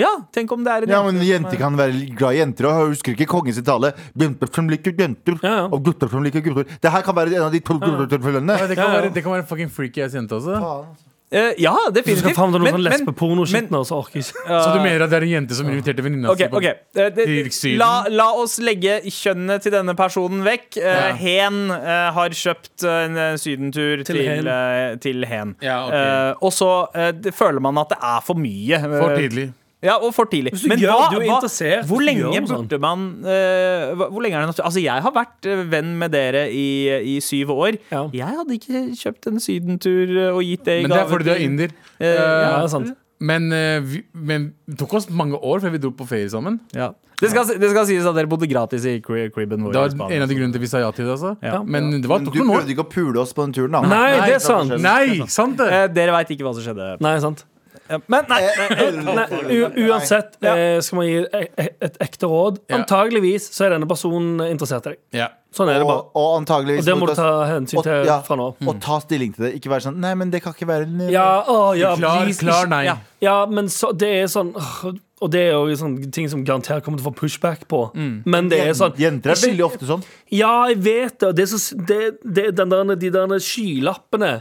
ja, tenk om det er en
Ja, men jenter kan være glad i jenter og jeg husker ikke kongens tale. Jenter som liker jenter,
Ja, ja.
og gutter som liker gutter. Det her kan være en av de to tilfellene.
Ja, Det kan
Ja, ja.
være, det kan være en fucking freaky ass jente også.
Eh, ja,
Hvis du
definitivt.
skal fram til noe sånn
men-
lesbeporno-shit nå, så orker jeg ikke.
Så du mener at det er en jente som inviterte venninna
Ok,
på-
ok Eh, det-
til Syden?
la, la oss legge kjønnet til denne personen vekk. Eh, Hen eh, har kjøpt eh, en eh, sydentur til,
Hen.
eh, til hen.
Ja, ok.
Eh, og så eh, det- føler man at det er for mye. Eh,
For tidlig.
Ja, og for tidlig.
Hvis du gjør- du er interessert,
hvor
hvis du
lenge
gjør noe
burde man eh, hva- Hvor lenge er det naturlig? Altså, jeg har vært eh, venn med dere i, i syv år.
Ja.
Jeg hadde ikke kjøpt en sydentur eh, og gitt det i
Men det er
gave
fordi du er
til-
inder.
Eh,
Ja,
ja,
det er sant.
Men, eh, vi, men det tok oss mange år før vi dro på ferie sammen.
Ja. Det, skal, det skal sies at dere bodde gratis i cri- cribben vår.
Det
i
var
Spania.
en av de grunnene til vi sa ja til det. Altså.
Ja.
Men det var,
Men
tok
du
noen år.
prøvde ikke å pule oss på den turen, da.
Nei, det er sant.
sant.
Nei, sant det?
Eh, Dere veit ikke hva som skjedde.
Nei, sant.
Ja, Men nei,
Eh,
Nei, u uansett,
Ja.
eh, skal man gi e- e- et ekte råd.
Ja.
Antageligvis så er denne personen interessert i deg.
Ja.
Sånn er det bare.
Og, og antageligvis
Og det må du ta hensyn
og-
til
ja,
fra nå.
Og ta stilling til det. Ikke være sånn Nei, men det kan ikke være en
Ja, å, ja,
Klar,
please,
klar
ikke-
nei.
ja.
ja, men så, det er sånn åh, Og det er jo sånn ting som garantert kommer til å få pushback på.
Mm.
Men det er sånn
Jenter er
ikke-
veldig ofte sånn.
Ja, jeg vet det. og Det er, så, det, det er den der, de der skylappene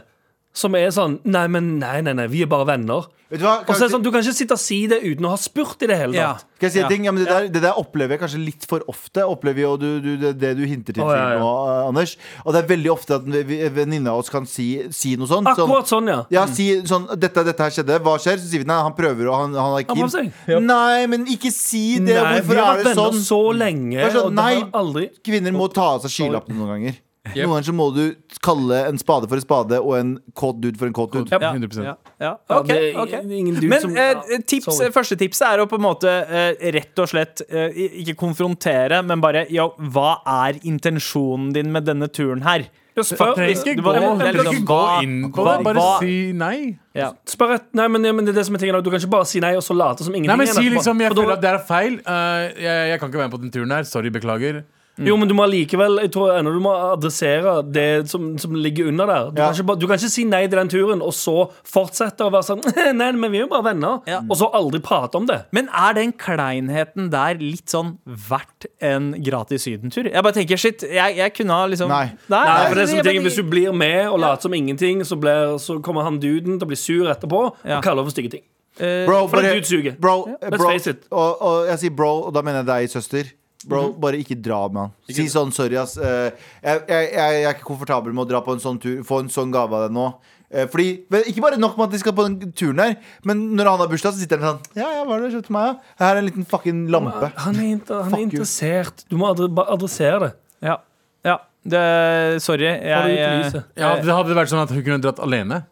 som er sånn Nei, men nei, nei, nei, vi er bare venner.
Vet du hva?
Og
Kan
så er det
jeg-
sånn, Du kan ikke sitte og si det uten å ha spurt i det hele
Ja.
tatt.
Skal jeg si en
Ja.
ting? Ja, men det, der, det der opplever jeg kanskje litt for ofte. Opplever jo du, du, det, det du hinter til
Å, ja, ja.
nå, eh, Anders. Og det er veldig ofte at en ve- venninne av oss kan si, si noe sånt. sånn-
Akkurat sånn, ja.
Ja, si sånn dette, dette her skjedde, hva skjer? Så sier vi nei, han prøver og han, han har ikke
Han prøver
hint.
seg. Ja.
Nei, men ikke si det!
Nei, vi
Hvorfor
har
er
vært
det
venner
sånn?
så lenge,
Bare sånn,
og det har
nei.
aldri
Kvinner må ta av seg skylappene noen ganger. Noen ganger så må du kalle en spade for en spade og en kåt dude for en kåt dude.
Ja.
100
Ja, ja.
Ja,
ok,
det er
ok.
ingen dude
Men
som-
eh,
ja,
tips,
sorry.
første tipset er å på en måte eh, rett og slett eh, ikke konfrontere, men bare ja, hva er intensjonen din med denne turen her?
spør,
Trenger ikke gå,
Du bare-
du
eller
trenger
liksom,
ikke gå
hva-
inn på det.
hva-
Bare
hva-
si nei.
Ja.
spør et, nei, men, ja, men det er det som er tingen. da. Du kan ikke bare si nei og så late som ingenting.
Nei, men
igjen
Si
etterpå.
liksom jeg
For da-
føler at det er feil. Eh, jeg, jeg kan ikke være med på den turen her. Sorry, beklager.
Jo, men du må likevel Jeg tror ennå du må adressere det som, som ligger under der. Du,
Ja.
kan ikke, bare- du kan ikke si nei til den turen, og så fortsette å være sånn Nei, men vi er jo bare venner.
Ja.
Og så aldri prate om det.
Men er den kleinheten der litt sånn verdt en gratis sydentur? Jeg bare tenker, shit, jeg, jeg kunne ha liksom
Nei.
Nei, for det
jeg-
er som
jeg
ting,
bare-
Hvis du blir med og later som ingenting, så, blir, så kommer han duden til å bli sur etterpå
Ja.
og kaller for stygge ting.
eh,
Bro,
For
bare-
en dude suger.
bro,
Let's
bro
face it.
Og, og jeg sier bro, og da mener jeg deg, søster. Bro,
Mhm.
bare ikke dra med han. Si sånn sorry, ass. eh, jeg, jeg, jeg jeg er ikke komfortabel med å dra på en sånn tur, få en sånn gave av deg nå. Eh, Fordi, vel, Ikke bare nok med at de skal på den turen her, men når han har bursdag, så sitter han sånn Ja, ja, hva er det du kjøpte meg, da? Her er en liten fucking lampe.
Han er, inter, han
Fuck
er
you.
interessert. Du må adre, bare adressere det.
Ja. ja. Det,
Ta
sorry.
det
Jeg,
ut i
eh,
lyset.
Ja, det hadde vært sånn at hun kunne dratt alene.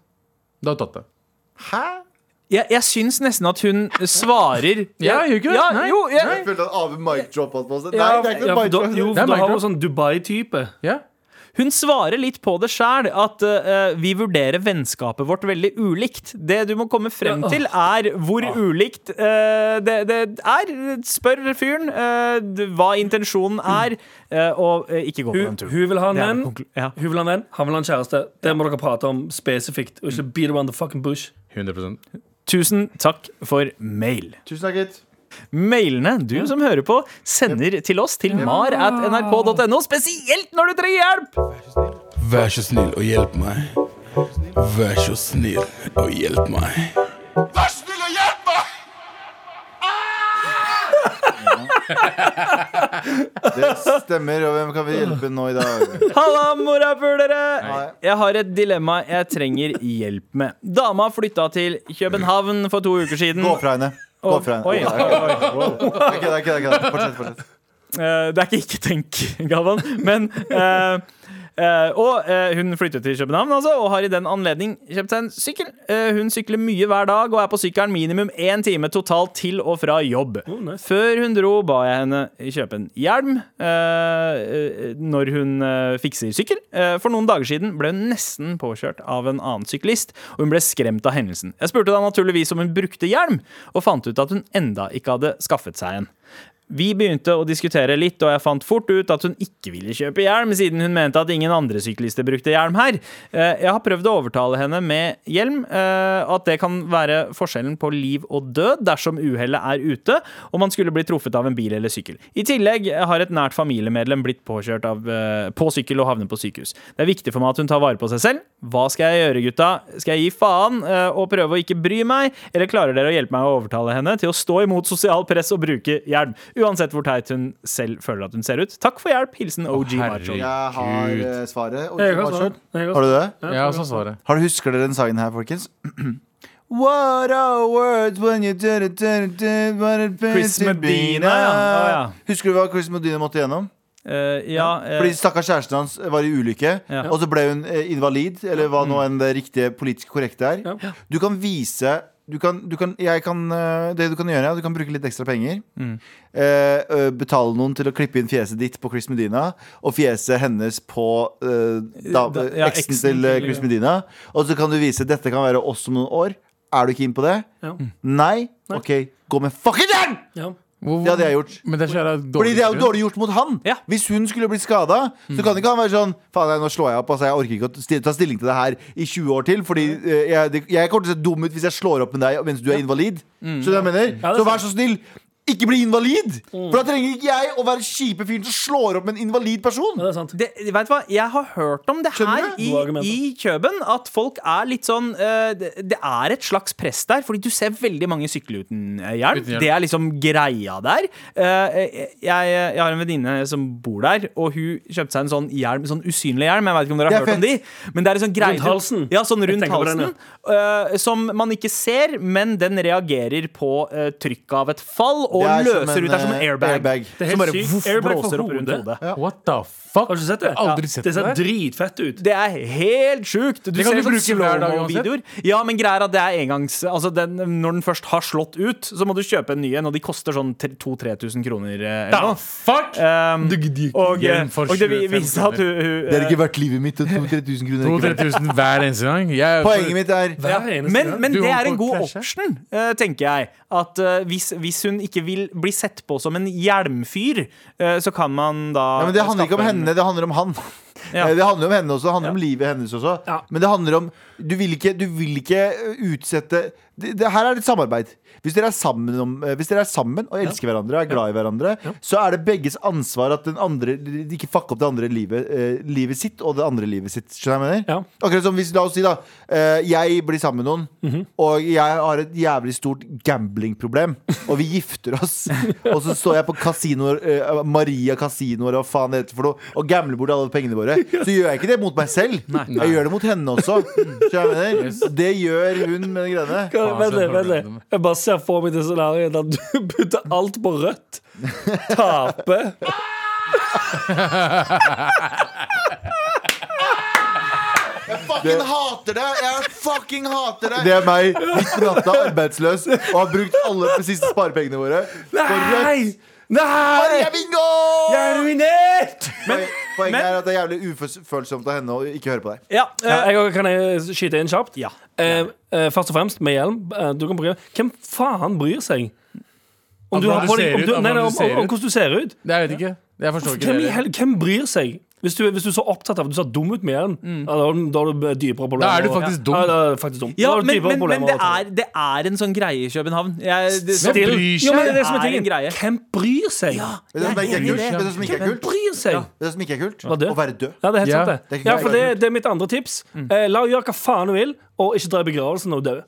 Da hadde hun tatt det.
Hæ?
jeg, jeg syns nesten at hun svarer
Ja, gjør ikke det?
Ja,
Nei.
jo, jeg,
Jeg følte at Ave mic-droppa på oss. Nei,
Ja,
det er ikke
ja,
noe
for da, jo,
mic-drop.
Det er
for da har
Minecraft.
hun sånn Dubai-type.
Ja.
Hun svarer litt på det sjæl, at eh, vi vurderer vennskapet vårt veldig ulikt. Det du må komme frem til, er hvor ulikt eh, det, det er. Spør fyren eh, d- hva intensjonen er, eh, og eh, ikke gå på
Hun,
den turen.
hun vil ha en
Det er
venn.
det konklu- ja.
Hun vil ha en venn, han vil ha en kjæreste. Det må dere prate om spesifikt. Og ikke beat around the fucking bush.
100
Tusen takk for mail.
Tusen takk, gitt.
Mailene du som hører på, sender til oss til mar at nrk.no, spesielt når du trenger hjelp!
Vær så snill og hjelp meg. Vær så snill og hjelp meg.
Det stemmer. Og hvem kan vi hjelpe nå i dag?
Halla, morapulere!
Hei.
Jeg har et dilemma jeg trenger hjelp med. Dama flytta til København for to uker siden.
Gå fra henne. Gå fra
Oi,
henne. Jeg kødder, jeg kødder, jeg kødder. Fortsett, fortsett.
Eh, det er ikke ikke tenk, Galvan, men eh, eh, og eh, hun flyttet til København altså, og har i den anledning kjøpt seg en sykkel. Eh, hun sykler mye hver dag og er på sykkelen minimum én time totalt til og fra jobb.
nice.
Før hun dro, ba jeg henne kjøpe en hjelm eh, eh, når hun eh, fikser sykkel. Eh, for noen dager siden ble hun nesten påkjørt av en annen syklist, og hun ble skremt av hendelsen. Jeg spurte da naturligvis om hun brukte hjelm, og fant ut at hun enda ikke hadde skaffet seg en. Vi begynte å diskutere litt, og jeg fant fort ut at hun ikke ville kjøpe hjelm, siden hun mente at ingen andre syklister brukte hjelm her. Eh, Jeg har prøvd å overtale henne med hjelm, eh, at det kan være forskjellen på liv og død dersom uhellet er ute og man skulle bli truffet av en bil eller sykkel. I tillegg har et nært familiemedlem blitt påkjørt av, eh, på sykkel og havnet på sykehus. Det er viktig for meg at hun tar vare på seg selv. Hva skal jeg gjøre, gutta? Skal jeg gi faen eh, og prøve å ikke bry meg, eller klarer dere å hjelpe meg å overtale henne til å stå imot sosial press og bruke hjelm? Uansett hvor teit hun selv føler at hun ser ut. Takk for hjelp. Hilsen OG Macho.
herregud.
Jeg har eh, svaret. Og du
Jeg har
har
svaret.
kjørt.
Jeg har
Har du det?
Jeg har også svaret.
Har du Husker dere den sangen her, folkens? What are words when you do it, do it, do it, what it means
Chris
to be
Medina, ja.
now?
Å, ja.
Husker du hva Chris Medina måtte gjennom?
Eh, ja, eh,
Fordi stakkars kjæresten hans var i ulykke,
Ja.
og så ble hun eh, invalid, eller hva nå enn det riktige politisk korrekte er.
Ja.
Du kan vise du kan, du kan, jeg kan, eh, det du kan gjøre, er at du kan bruke litt ekstra penger. Eh, ø, betale noen til å klippe inn fjeset ditt på Chris Medina, og fjeset hennes på eh, da,
Da- ja,
eksen
eksen
til eh,
til-
Chris Medina. Og så kan du vise dette kan være oss om noen år. Er du keen på det?
Ja.
Nei? OK, gå med fucking den!
Ja.
Hvor-
Det hadde jeg gjort.
Men det er så jævla
Fordi det er jo
grunn.
dårlig gjort mot han.
Ja.
Hvis hun skulle blitt skada,
Mm.
så kan ikke han være sånn Faen, nei, nå slår jeg opp. Altså, jeg orker ikke å sti- ta stilling til det her i 20 år til. Fordi
Mm.
eh, jeg, det- jeg kommer til å se dum ut hvis jeg slår opp med deg mens du er invalid. Skjønner du hva jeg
Mm. Ja,
mener?
det er Mm.
Så vær så snill. Ikke bli invalid! For da trenger ikke jeg å være kjipe fyren som slår opp med en invalid person.
ja, det er sant.
det, vet du hva? Jeg har hørt om det her
Skjønner du?
i,
Gode argumenter.
i Køben. At folk er litt sånn eh, det, det er et slags press der, fordi du ser veldig mange sykle uten eh, hjelm.
Uten hjelm.
Det er liksom greia der. Eh, jeg, jeg har en venninne som bor der, og hun kjøpte seg en sånn hjelm, sånn usynlig hjelm. Jeg vet ikke om dere har
Det er
hørt om de, men det er en sånn greie
Rundt halsen.
Ja, sånn rundt
tenker på
halsen.
den,
eh, som man ikke ser, men den reagerer på uh, trykket av et fall, og
Det er som
løser
en,
ut der som en
eh,
airbag.
airbag.
Det er
Som
helt
bare
sykt.
voff,
Airbag for
blåser opp rundt
hodet.
hodet.
What the fuck?
Har du ikke sett det?
Jeg har aldri
Ja.
sett
det ser
det.
dritfett ut.
Det er helt sjukt! Du
Det kan
ser
du
sånn
bruke hver dag
slow-mo-videoer. Ja, men greia er at det er engangs Altså, den, når den først har slått ut, så må du kjøpe en ny en, og de koster sånn 2000-3000 kroner. eh, eller
Da,
noe.
fuck!
Um,
Det gidder jeg ikke.
og, eh,
Hjelm for
og det vi-
25
viste at hun, hun
Det
eh,
har ikke vært livet mitt. 2000 kroner
2000-3000 hver eneste gang. Jeg,
Poenget mitt er
Hver eneste
men,
gang.
men
Du
det
holder
er
på å
en god
krasje.
option, eh, tenker jeg. At eh, hvis, hvis hun ikke vil bli sett på som en hjelmfyr, eh, så kan man da
ja, men Det handler ikke om
skaffe en-
henne, det handler om han.
Ja.
Eh, Det handler om henne også, det handler om livet hennes også.
Ja.
Men det handler om Du vil ikke, du vil ikke eh, utsette det, det, Her er det et samarbeid. Hvis dere er sammen, om, eh, hvis dere er sammen og elsker hverandre og er glad i hverandre, så er det begges ansvar at den andre de ikke fucker opp det andre livet, eh, livet sitt og det andre livet sitt. Skjønner du hva jeg mener?
Ja.
Akkurat som hvis, la oss si da eh, Jeg blir sammen med noen Og jeg har et jævlig stort gamblingproblem Og vi gifter oss Og så står jeg på kasinoer eh, Maria kasinoer og faen det heter for noe Og gambler bort alle pengene våre Så gjør jeg ikke det mot meg selv Jeg gjør det mot henne også Skjønner du hva jeg mener? Det gjør hun med den greiene
Kan-
Faen,
Vent
så
litt, vent
hører
litt.
du det.
Jeg bare ser for meg det scenarioet der du putter alt på rødt, taper
Jeg Det-
fucking hater deg! Jeg fucking hater deg!
Det er meg, midt på natta, arbeidsløs, og har brukt alle de siste sparepengene våre.
Nei!
Bare
Nei!
jeg vil gå!
Jeg er ruinert!
Poen- Poenget er at det er jævlig ufølsomt av henne å ikke høre på deg.
Ja,
Ja,
eh,
jeg, kan jeg skyte inn kjapt?
Ja.
Eh, eh, først og fremst, med hjelm eh, du kan bruke, Hvem faen bryr seg? Om
Av
du
hvordan
har
du
på deg
Altså, ser
om
ut,
du,
av
nei, nei,
hvordan
om,
du ser
om, om
ut.
hvordan du ser ut.
Det jeg vet ikke. Jeg forstår ikke
Hvem, i
det.
hel, hvem bryr seg? Hvis du, hvis du er så opptatt av at du ser dum ut med hjelm, ja, da, har du- da har du dypere problemer.
Mm. Da er du
og-
faktisk dum.
Ja, da er du faktisk dum.
ja
da har du
men,
dypere
men, men
problemer
det,
og sånt.
er, det er en sånn greie i København. Jeg, det,
Hvem
Still-
bryr
Jo, men
seg?
det er det som er
Det er en
tingen.
greie.
Hvem bryr seg?
Vet du hva som ikke er kult? Vet du hva som ikke er
Hvem
kult?
bryr seg?
Vet du hva som ikke er kult?
Hva det?
Å være død.
Ja, det er helt
Ja.
sant, det.
Det er ikke
Ja,
greit.
for det, det er mitt andre tips.
Mm.
Eh, la henne gjøre hva faen hun vil, og ikke dra i begravelsen når hun dør.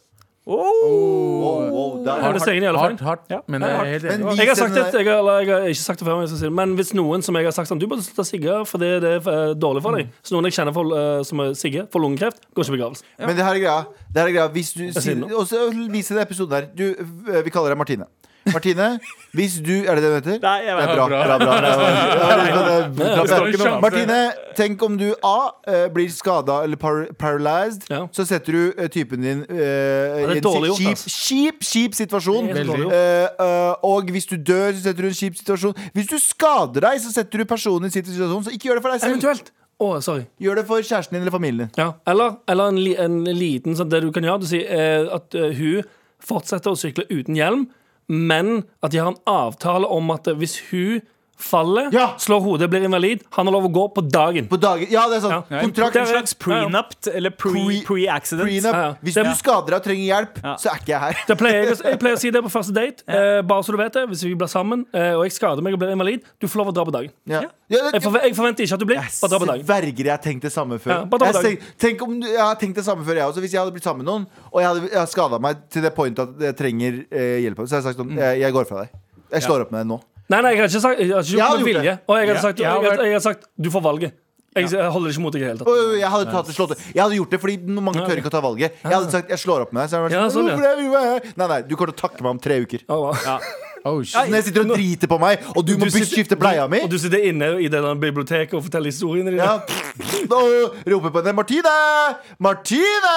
Wow, wow, der-
Hennes egen jævla feil.
Hardt, hardt. Men jeg er helt
Men eh,
enig.
vi
Jeg har sagt det,
sender-
jeg har, eller jeg har ikke sagt det før, men, jeg skal si det. men hvis noen som jeg har sagt sånn Du burde slutte å sigge, for det, det er eh, dårlig for deg. Så noen jeg kjenner for, eh, som er sigge, får lungekreft, går ikke i begravelsen.
Men det her er greia. Det her er greia. Hvis du
sier
sier,
noe.
og så vis i denne episoden her du, øh, Vi kaller deg Martine. Martine, hvis du Er det det hun heter?
Nei, jeg
det
vet
er bra.
det.
bra, bra, bra, bra,
står ikke noe
bra.
om
Martine, tenk om du A. øh, Blir skada eller par paralyzed.
Ja.
Så setter du øh, typen din øh,
er
i en
dårlig gjort,
kjip,
ass.
kjip, kjip situasjon.
Det er helt dårlig
Eh, øh, og hvis du dør, så setter du i en kjip situasjon. Hvis du skader deg, så setter du personen i en kjip situasjon. Så ikke gjør det for deg selv.
Eventuelt. Å, sorry.
Gjør det for kjæresten din eller familien din.
Ja. Eller, eller en, li, en liten sånn Det du kan gjøre, du sier eh, at eh, hun fortsetter å sykle uten hjelm, men at de har en avtale om at eh, hvis hun faller,
Ja.
slår hodet, blir invalid, han har lov å gå på dagen.
På dagen Ja, det er
Ja.
sant.
Ja.
Kontrakt.
Det er-
slags prenup eller pre-
Pre-
pre-accident.
Prenup.
Ja, ja.
Hvis
Det-
du skader deg og trenger hjelp,
Ja.
så er ikke jeg her.
Det pleier jeg, å- jeg pleier å si det på første date, eh, bare så du vet det. Hvis vi blir sammen, eh, og jeg skader meg og blir invalid, du får lov å dra på dagen.
Ja. Ja, det-
Jeg, forve jeg forventer ikke at du blir. Bare dra på dagen.
Sverger jeg har tenkt det samme før.
Ja, bare ta på
jeg,
dagen.
tenk, tenk om, du- jeg har tenkt det samme før, jeg også. Hvis jeg hadde blitt sammen med noen, og jeg hadde, jeg hadde skada meg til det point at jeg trenger eh, hjelp, av dem, så hadde jeg sagt
Mm.
sånn Jeg, jeg går fra deg. Jeg slår opp med deg nå.
Nei, nei, jeg har ikke sagt Jeg har ikke
Jeg
gjort
hadde
det med
gjort
vilje. Og jeg hadde
Ja,
sagt,
jeg har
jeg, hadde-
vært-
jeg hadde sagt du får valget. Jeg, jeg holder ikke mot deg i det hele tatt.
Og Jeg hadde tatt det slått Jeg hadde gjort det, fordi no- mange tør ikke å ta valget. Jeg hadde sagt 'jeg slår opp med deg'. Så hadde jeg
Ja,
vært sånn,
sånn, ja.
«Hvorfor er du her?» Nei, nei, du kommer til å takke meg om tre uker.
Ja, ja.
Oh, shit.
Når jeg sitter og driter på meg, og du må
Du sitter-
skifte bleia mi
Og du sitter inne i det der biblioteket og forteller historiene dine.
Ja. Da roper på henne 'Martine! Martine!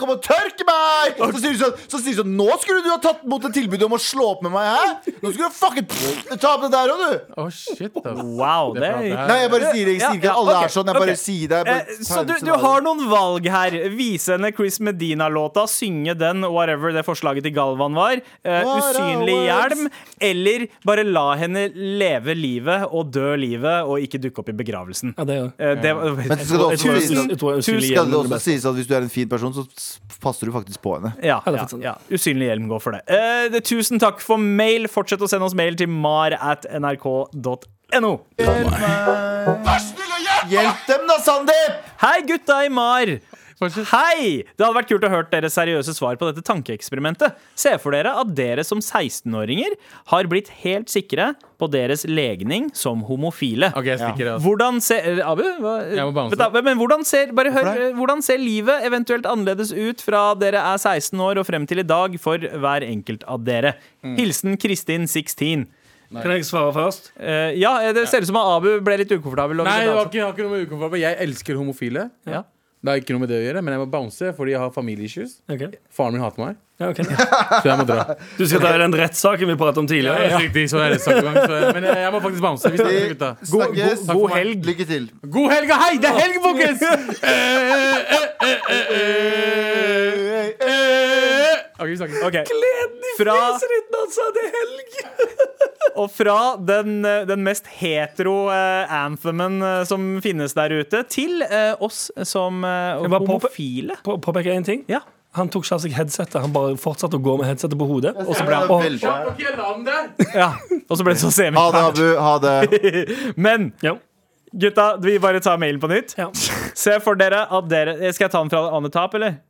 Kom og tørk meg!' Så sier hun sånn, så sier hun sånn 'Nå skulle du ha tatt imot et tilbud om å slå opp med meg her.' 'Nå skulle du fucking ta opp det der òg, du.'
Oh, shit ass.
Wow,
Det er bra,
det-
det her.
Nei, jeg bare sier det. Jeg sier ikke at alle
Ja, ja,
er sånn. Jeg bare
ok, ok.
sier det. Jeg
Eh,
bare
Så
tar
du,
det som
du
det er.
har noen valg her. Vise henne Chris Medina-låta, synge den, whatever det forslaget til Galvan var. Eh,
What
usynlig
are
hjelm. Eller bare la henne leve livet og dø livet og ikke dukke opp i begravelsen.
Ja, det gjør jeg.
Eh, det,
Men skal det også sies
Jeg tror jeg er usynlig
skal det
hjelm er
også
best.
sies at hvis du er en fin person, så s- passer du faktisk på henne.
ja,
det er
ja,
faktisk sant.
ja. Usynlig hjelm går for det. Eh, det. Tusen takk for mail. Fortsett å sende oss mail til mar at nrk.no.
Hjelp dem da, Sandeep!
Hei, gutta i Mar!
Fortsett.
Hei! Det hadde vært kult å høre deres seriøse svar på dette tankeeksperimentet. Se for dere at dere som 16-åringer har blitt helt sikre på deres legning som homofile.
OK, jeg stikker. ass.
Hvordan ser eh, Abu? Hva,
Jeg må bounce.
Vent da, men hvordan ser, bare hør,
det?
eh, hvordan ser livet eventuelt annerledes ut fra dere er 16 år og frem til i dag for hver enkelt av dere?
Mm.
Hilsen Kristin 16.
Kan jeg svare først?
Eh, ja, eh, det ser ut som at Abu ble litt ukomfortabel. og liksom
Nei,
ville
det var
bounce.
ikke, har ikke noe med ukomfortabel Jeg elsker homofile.
Ja.
Det har ikke noe med det å gjøre, men jeg må bounce fordi jeg har familieissues.
Ok.
Faren min hater meg,
Ja, ok.
så jeg må dra.
Du skal ta i den rettssaken vi pratet om
Ja,
tidligere.
helt riktig, sånn er det sagt, så- Men eh, jeg jeg må faktisk bounce. Vi snakkes, gutta. God, god,
Snakkes.
god helg.
Lykke til.
God helg, og hei! Det er helg, folkens! Eh, eh, eh, eh, eh, eh. Ok, vi snakkes.
Ok. Fra
altså.
Og fra den, eh, den mest hetero eh, anthemen eh, som finnes der ute, til eh, oss som eh,
bare påpe-
homofile.
På- Påpeke én ting.
Ja.
Han tok ikke av seg headsetet. Han bare fortsatte å gå med headsetet på hodet. Og så ble han
Veldig.
Ok, la den der.
ja. Og så ble det så semi.
Ha det, Abu. Ha det.
Men
Ja.
gutta, vi bare tar mailen på nytt.
Ja.
Se for dere at dere eh, Skal jeg ta den fra Anne Tap, eller?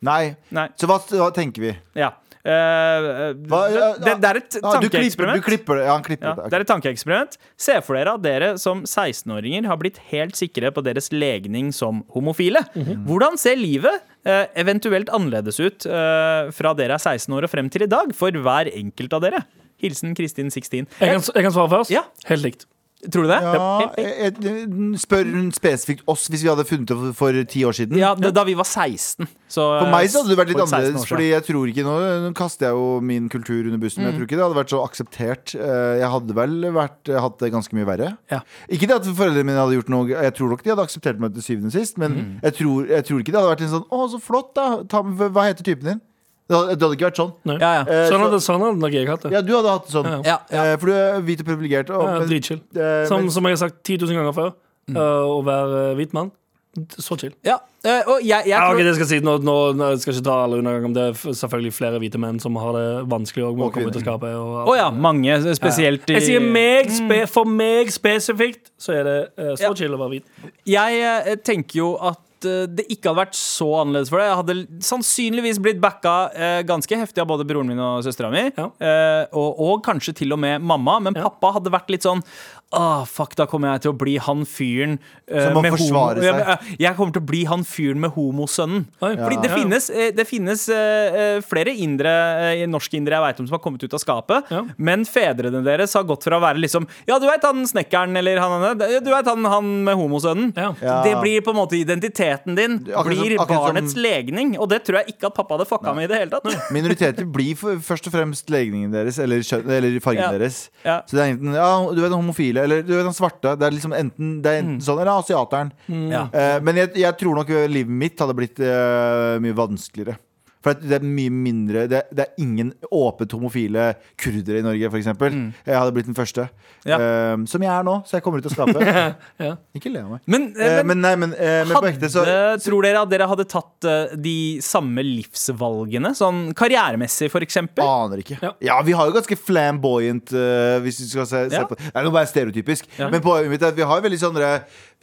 Nei.
Nei.
Så hva, hva tenker vi?
Ja. Eh,
Hva-
det, det er et
Ah, du, klipper, du
tankeeksperiment.
klipper det. Ja, han klipper
Ja,
det. Ok.
det er et tankeeksperiment. Se for dere at dere som 16-åringer har blitt helt sikre på deres legning som homofile.
Mhm.
Hvordan ser livet eh, eventuelt annerledes ut eh, fra dere er 16 år og frem til i dag, for hver enkelt av dere? Hilsen Kristin 16.
Jeg kan, jeg kan svare først.
Ja.
Helt likt.
Tror du det?
Ja,
Ja,
jeg- jeg- spør hun spesifikt oss hvis vi hadde funnet det for- for ti år siden?
ja, da da vi var 16. Så,
For meg så hadde det vært litt
for 16 år
annerledes.
siden.
Fordi jeg tror ikke Nå, nå kaster jeg jo min kultur under bussen.
Mm.
Men jeg tror ikke det hadde vært så akseptert. Eh, Jeg hadde vel vært, eh, hatt det ganske mye verre.
Ja.
Ikke det at foreldrene mine hadde gjort noe Jeg tror nok de hadde akseptert meg til syvende og sist, men
Mm.
jeg, tror, jeg tror ikke det hadde vært en sånn Å, så flott, da. Ta, med- hva heter typen din? Det hadde, det hadde ikke vært sånn.
Nei.
Ja, ja.
Eh,
Sånn
så-
hadde, sånn hadde nok jeg hatt det.
Ja, du hadde hatt det sånn.
Ja,
ja. Ja,
Eh, For du er hvit og privilegert. og-
Ja,
men-
Dritchill.
eh,
Som,
men- Mm.
som jeg har sagt 10 000 ganger før, eh, å være eh, hvit mann. Så chill.
ja. Eh, Og jeg, jeg
Ja, ok,
tror
det skal jeg si nå, nå, nå skal jeg ikke ta alle undergang om det er f- selvfølgelig flere hvite menn som har det vanskelig og må
Og
komme ut av
kvinner.
skapet. Og,
Å ja, mange, spesielt i Mm.
Jeg sier meg spe, For meg spesifikt så er det uh, så
Ja.
chill å være hvit.
Jeg eh, tenker jo at eh, det ikke hadde vært så annerledes for deg. Jeg hadde l- sannsynligvis blitt backa eh, ganske heftig av både broren min og søstera mi.
Ja.
eh, og, og kanskje til og med mamma. Men
Ja.
pappa hadde vært litt sånn Ah, fuck, da kommer jeg til å bli han fyren eh,
Som må
med
forsvare
homo-
seg.
Ja, men, eh, Jeg kommer til å bli han fyren med homosønnen.
Oi.
Fordi det
Ja.
finnes, eh, det finnes eh, eh, flere indre, eh, norske indere jeg veit om som har kommet ut av skapet,
Ja.
men fedrene deres har gått fra å være liksom Ja, du veit han snekkeren, eller han Du veit han, han med homosønnen.
Ja.
Ja.
Det blir på en måte identiteten din.
Akkurat som-
blir
akkurat som-
barnets legning. Og det tror jeg ikke at pappa hadde fucka med i det hele tatt.
Minoriteter blir for, først og fremst legningen deres, eller, kjønn- eller fargen
Ja.
deres.
Ja.
Så det er enten ja, du vet den homofile, eller du vet den svarte. Det er liksom enten, det er enten
Mm.
sånn, eller asiateren.
Ja.
Eh, men jeg, jeg tror nok livet mitt hadde blitt eh, mye vanskeligere. For at det er mye mindre Det, det er ingen åpent homofile kurdere i Norge, f.eks. eksempel Jeg hadde blitt den første.
Mm. Ja.
Eh, som jeg er nå, så jeg kommer ut av skapet.
Ja.
Ikke le av meg.
Men, eh,
Eh, men
men
nei, men, eh, men på ekte, så
hadde, tror dere at dere hadde tatt eh, de samme livsvalgene? Sånn karrieremessig, for eksempel?
Aner ikke. Ja.
Ja.
vi har jo ganske flamboyant eh, Hvis vi skal se, se
Ja.
på Det er jo bare stereotypisk. Men poenget mitt er at vi har, veldig sånne,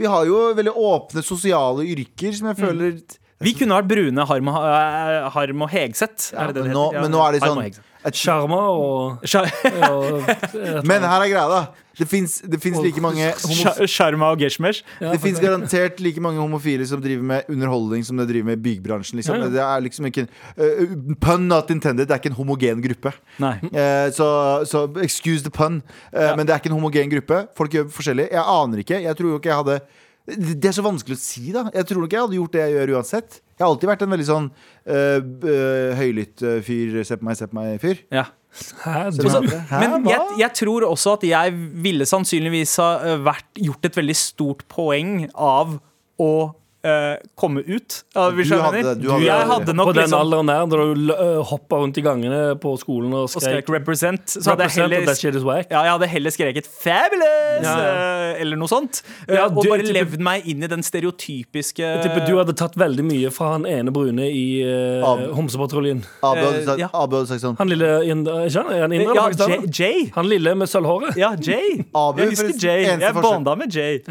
vi har jo veldig åpne sosiale yrker som
Mm.
jeg føler
Vi kunne vært brune Harm og, eh, harm og Hegseth.
ja,
er det det
men,
det
nå,
heter? Ja,
men nå er det
Harm
sånn
og Hegseth.
et,
Sjarmer og,
Sjar-
Eh, og
Men her er greia, da. Det fins det fins like mange homo,
Sjar- Sjarma og Geshmesh.
Det fins garantert like mange homofile som driver med underholdning som det driver med i byggebransjen. Liksom.
Ja.
Det er liksom ikke en, eh, Pun not intended. Det er ikke en homogen gruppe.
Nei.
Eh, Så, så excuse the pun, eh, men det er ikke en homogen gruppe. Folk gjør forskjellig. Jeg aner ikke. Jeg tror jo ikke jeg hadde Det er så vanskelig å si, da. Jeg tror nok jeg hadde gjort det jeg gjør uansett. Jeg har alltid vært en veldig sånn eh, b- eh, høylytt eh, fyr. Se på meg, se på meg-fyr.
Ja.
Hæ, du-
Så,
Hæ,
Altså, men
hva?
jeg, jeg tror også at jeg ville sannsynligvis ha ø, vært, gjort et veldig stort poeng av å ø, komme ut. Ja, hvis
Du
jeg
hadde-
mener.
du hadde-
jeg hadde nok
På den
liksom
alderen der, da du uh, hoppa rundt i gangene på skolen og
og skrek
skrek
represent, så hadde
Represent
jeg heller
og that shit is whack.
ja, jeg hadde heller skreket 'fabulous'
Ja, ja.
ø, eller noe sånt. ø,
Ja,
og
du-
bare
type-
levd meg inn i den stereotypiske
Jeg tipper du hadde tatt veldig mye fra han ene brune i eh,
Av-
Homsepatruljen.
Abu hadde
eh,
sagt,
ja.
Abu hadde sagt sånn.
Han lille inder, ikke han? Er han indre?
Ja,
eller
Jay.
pakistaner?
Jay.
Han lille med sølvhåret?
Ja, Jay.
Abu,
Jeg husker
forresten,
Jay.
eneste
Jeg
forskjell-
bonda med Jay.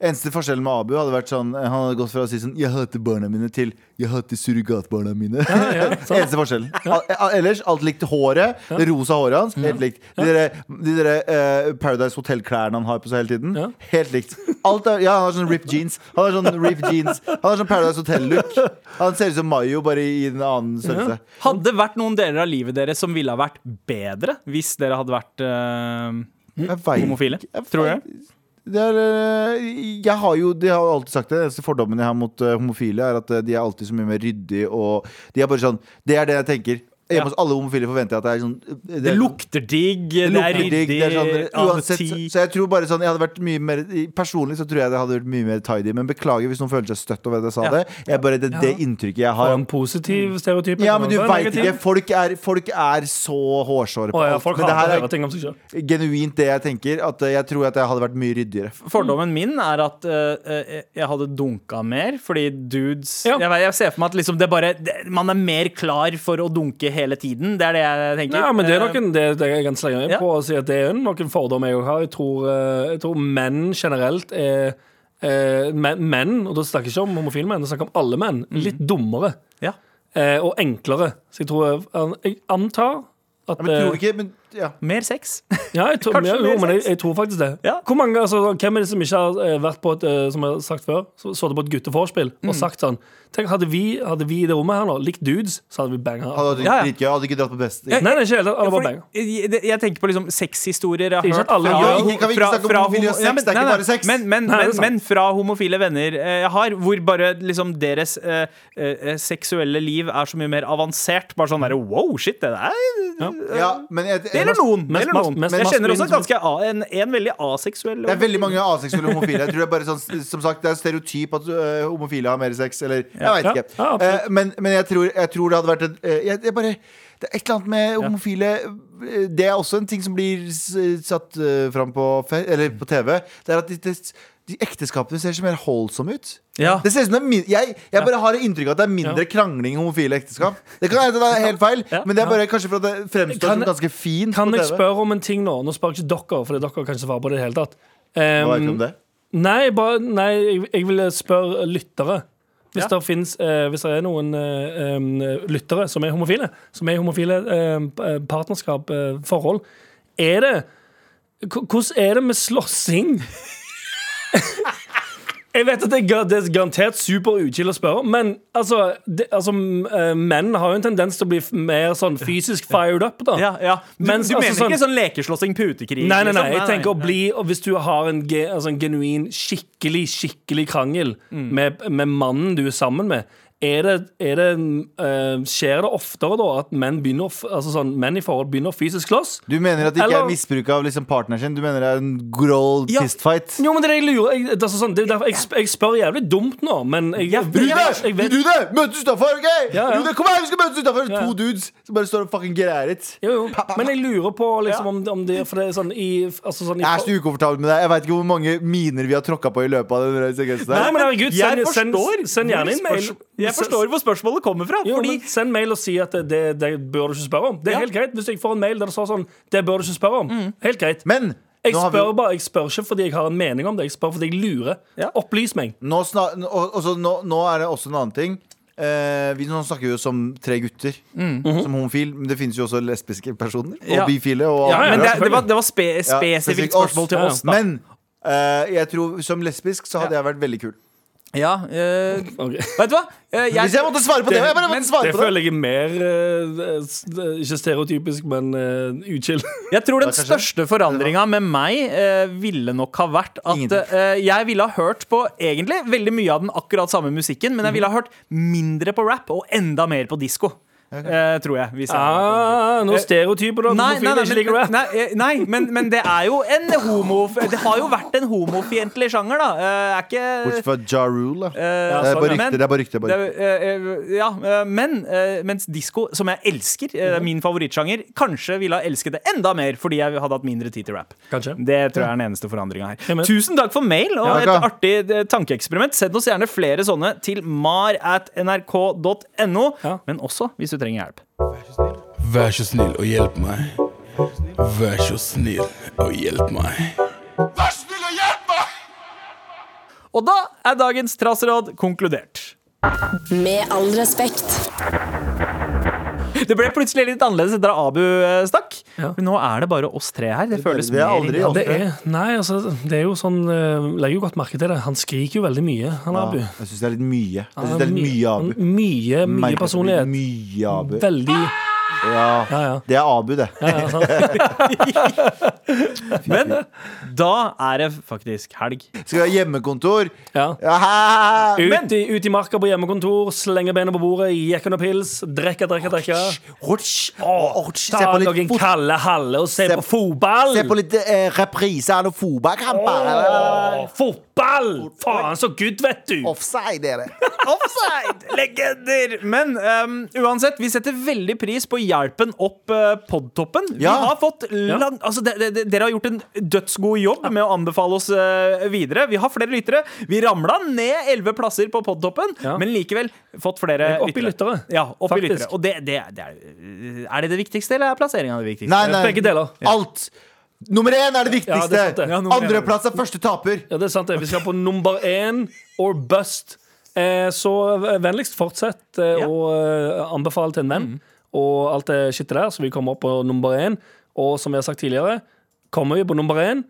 Eneste forskjellen med Abu hadde vært sånn Han hadde gått fra å si sånn 'Jeg hater barna mine' til 'Jeg hater surrogatbarna mine'.
ja, sant.
Eneste forskjellen. Al- Ellers alt likt håret. Det rosa håret hans, helt likt. De der, de der eh, Paradise Hotel-klærne han har på seg hele tiden,
Ja.
helt likt. Alt er, ja, han har sånn ripped jeans. Han har sånn ripped jeans Han har sånn Paradise Hotel-look. Han ser ut som Mayo, bare i en annen størrelse.
Hadde det vært noen deler av livet deres som ville ha vært bedre hvis dere hadde vært eh, ø,
Jeg vet
Homofile,
ikke. Jeg
tror
vet- Det er, eh, jeg har jo de har jo alltid sagt det. Den eneste fordommen jeg har mot eh, homofile, er at eh, de er alltid så mye mer ryddige og De er bare sånn Det er det jeg tenker. Hjemme hos alle homofile forventer jeg at det er sånn Det,
Det
er-
lukter digg, det,
det
er
lukter digg,
ryddig.
det er sånn, uansett, så,
anti-
så jeg tror bare sånn Jeg hadde vært mye mer Personlig så tror jeg det hadde vært mye mer tidy, men beklager hvis noen føler seg støtt over at jeg sa
Ja.
det. Jeg bare, det, det inntrykket jeg
Var
har
en positiv stereotyp?
Ja, men du
Var
veit
negativ?
ikke. Folk er, folk er så hårsåre på
Å ja,
alt.
folk
Men det
hater å
her
høre ting om seg selv.
er genuint det jeg tenker. At eh, jeg tror at jeg hadde vært mye ryddigere.
Fordommen min er at eh, eh, jeg hadde dunka mer, fordi dudes
Ja.
jeg, vet- jeg ser for meg at liksom det bare det, Man er mer klar for å dunke hele tiden. Det er det jeg tenker.
Ja, men det er
Eh,
noen det, det jeg kan slenge meg
Ja.
på og si at det er noen fordommer jeg også har. Jeg tror, eh, jeg tror menn generelt er eh, men- menn, og da snakker jeg ikke om homofile menn, da snakker jeg om alle menn, litt dummere
Mhm. ja.
eh, og enklere. Så jeg tror Jeg antar
Ja,
at
men tror
eh,
du ikke men ja.
Mer sex.
Ja, jeg tror,
Kanskje
ja, jo,
mer
men jeg,
sex.
jeg tror faktisk det.
Ja.
Hvor mange, altså, hvem er det som ikke har eh, vært på et, eh, som jeg har sagt før, så, så det på et gutteforspill
Mm.
og sagt sånn Tenk, hadde vi, hadde vi i det rommet her nå likt dudes, så hadde vi banga.
Hadde vært
Ja, ja.
dritgøy. Hadde ikke dratt på best.
Nei, nei, ikke helt, alle bare banga.
Fordi, jeg, jeg- jeg tenker på liksom sexhistorier jeg har
Ikke at
hørt.
alle
fra-
gjør-
Ikke- kan vi ikke
fra-
snakke om
fra
homofili og
homo-
sex? Det
men-
er ikke
nei, nei.
bare sex.
Men, men,
Nei, det er
men,
sant.
men fra homofile venner eh, jeg har, hvor bare liksom deres eh, eh, seksuelle liv er så mye mer avansert. Bare sånn derre wow, shit, det der
Ja, men jeg,
Det gjelder noen. Det
Mest-
gjelder noen.
mest-
jeg
mest
kjenner også
maskulin-
ganske a, en, en veldig aseksuell
Det er veldig mange aseksuelle homofile. Jeg tror det er bare sånn, som sagt, det er stereotyp at øh, homofile har mer sex, eller Jeg
Ja,
veit ikke.
ja, absolutt.
Eh, men men jeg, tror, jeg tror det hadde vært et, eh, jeg, jeg bare, Det er et eller annet med homofile eh, Det er også en ting som blir s- satt uh, fram på, fe- eller på TV. Det er at de, de, de ekteskapene ser så mer holdsomme ut.
Ja.
Det ser ut som det er min jeg, jeg bare har inntrykk av at det er mindre krangling i homofile ekteskap. Det kan hende det er helt feil,
Ja.
men det er bare kanskje for at det fremstår
Kan-
som ganske fint
Kan
på
jeg
TV.
spørre om en ting nå? Nå spør jeg ikke dere, for dere kan ikke svare på det i det hele tatt.
Hva vet du
Um,
om det?
nei, bare, nei, jeg, jeg vil spørre lyttere. Hvis,
Ja.
det finnes, eh, hvis det er noen eh, em, lyttere som er homofile, som er i homofile eh, p- eh, partnerskap, eh, forhold, er det H- Hvordan er det med slåssing? Jeg vet at det er gar- det er garantert super utkild å spørre, men altså, det, altså m- eh, menn har jo en tendens til å bli f- mer sånn fysisk fired up, da.
Ja, ja. Du,
Mens,
du
altså,
mener ikke sånn lekeslåssing,
Nei,
putekrig?
nei,
liksom?
nei, jeg tenker å bli og Hvis du har en, ge- altså en genuin, skikkelig skikkelig krangel med, med mannen du er sammen med, er det, er det, eh, skjer det oftere da at menn, begynner, å f- altså sånn, menn i forhold begynner å fysisk slåss?
Du mener at det ikke
Eller-
er misbruk av liksom partneren sin? Du mener det er en groll
Ja.
fistfight?
Jo, men det er det jeg lurer jeg, det er altså sånn, det er derfor, jeg, sp- jeg spør jævlig dumt nå, men jeg, jeg,
Rune!
jeg, jeg vet
Rune! Møtes utafor, OK?
Ja, ja.
Rune, kom her, vi skal møtes utafor!
Ja.
To dudes som bare står og fucking græret.
jo, jo. Men jeg lurer på liksom, om, om det For det er sånn i altså, sånn, i-
Jeg er så ukomfortabel med deg. Jeg veit ikke hvor mange miner vi har tråkka på i løpet av den sekvensen
Nei,
der.
men herregud,
Jeg
send, send,
forstår
send gjerne
hvor
inn mail.
spørs- Jeg forstår hvor spørsmålet kommer fra.
Jo,
fordi
men Send mail og si at det, det, det bør du ikke spørre om. Det er
Ja.
helt greit Hvis jeg får en mail der det står sånn Det bør du ikke spørre om. Helt greit.
Men
jeg
nå, har vi,
spør bare, jeg spør ikke fordi jeg har en mening om det. Jeg spør fordi jeg lurer.
Ja.
Opplys meg.
nå, sna, og, og så nå, nå er det også en annen ting. Eh, vi nå snakker vi jo som tre gutter, som homofil. Men det finnes jo også lesbiske personer. Og
Mm. Ja.
bifile. Og
ja,
alle
men
mulige.
det, det var, det var spe,
Ja,
spesifikt spørsmål til
Ja, ja.
oss, da.
Men eh, jeg tror som lesbisk så hadde jeg vært veldig kul.
Ja, eh,
Ok.
Vet du hva? Eh, jeg-
Hvis jeg måtte svare på det,
Det-
jeg bare
men
måtte svare
Det
på det.
føler jeg er mer eh, s- Ikke stereotypisk, men uh, uchill.
Jeg tror den
kanskje.
største forandringa med meg eh, ville nok ha vært at
Ingenting.
eh, jeg ville ha hørt på egentlig veldig mye av den akkurat samme musikken, men jeg
Mhm.
ville ha hørt mindre på rap og enda mer på disko. eh, tror jeg. Hvis jeg
Ah, noen stereotyper, da.
Nei,
Hvorfor
nei, nei,
ikke liker
men,
rap?
nei, eh, nei men, men det er jo en homo... Det har jo vært en homofientlig sjanger, da. Eh, er ikke
Bortsett fra Ja Rule, da.
Eh,
det er bare
sånn, ja.
rykter. Det er bare rykter. Bare.
Det er, eh, eh, ja, eh, men eh, mens disko, som jeg elsker, eh, det er min favorittsjanger, kanskje ville ha elsket det enda mer fordi jeg hadde hatt mindre tid til rap.
Kanskje.
Det tror jeg er den eneste forandringa her.
Amen.
Tusen takk for mail og
Ja,
et
takk.
artig eh, tankeeksperiment. Send oss gjerne flere sånne til mar at nrk.no,
Ja.
men også hvis du trenger hjelp.
Vær så snill og hjelp meg. Vær så snill og hjelp meg.
Vær snill og hjelp meg!
Og da er dagens traseråd konkludert.
Med all respekt.
Det ble plutselig litt annerledes etter at Abu eh, stakk.
Ja.
Men nå er det bare oss tre her. Det føles
Vi er
mer
aldri
Det er, nei, altså, det er jo sånn eh, Legger jo godt merke til det. Han skriker jo veldig mye, han Abu.
Ja, jeg syns det er litt mye. Jeg synes det er litt mye Abu.
Mye, mye
Merker
Ah!
at det blir
personlighet.
Mye Abu.
Veldig
Ja,
Ja, ja.
det er Abu, det.
ja, ja sant.
Men da er det faktisk helg.
Skal vi ha hjemmekontor?
Ja.
Ja, ha, ha, ha.
Ut i, ut i marka på hjemmekontor, slenge beina på bordet, jekke noen pils, drikke, drikke, drikke.
Hotch.
Åh,
Hotch.
Ta
Se på litt,
noen
fot
kalde halle og se
Se-
på fotball!
se på litt eh, reprise av noen fotballkamper.
Åh, fotball! Faen så good, vet du!
Offside er det.
Offside! Legender! Men ehm, uansett, vi setter veldig pris på hjelpen opp uh, podtoppen. Vi
Ja.
har fått lang... Altså, de, de, de- dere har gjort en dødsgod jobb med å anbefale oss eh, videre. Vi har flere lyttere. Vi ramla ned elleve plasser på podtoppen,
Ja.
men likevel fått flere
Opp i lyttere.
Ja, opp i
Faktisk.
lyttere. Og det, det, det er, er det det viktigste, eller er plasseringa det viktigste?
Nei, nei.
Begge deler.
Alt. Nummer én er det
Ja, det
viktigste.
er sant det. Ja,
nummer én.
Andreplass er første taper.
Ja, det er sant det. Vi skal på nummer én or bust. Eh, så vennligst fortsett eh,
Ja.
å eh, anbefale til en venn og alt det skittet der, så vi kommer opp på nummer én. Og som vi har sagt tidligere, kommer vi på nummer én,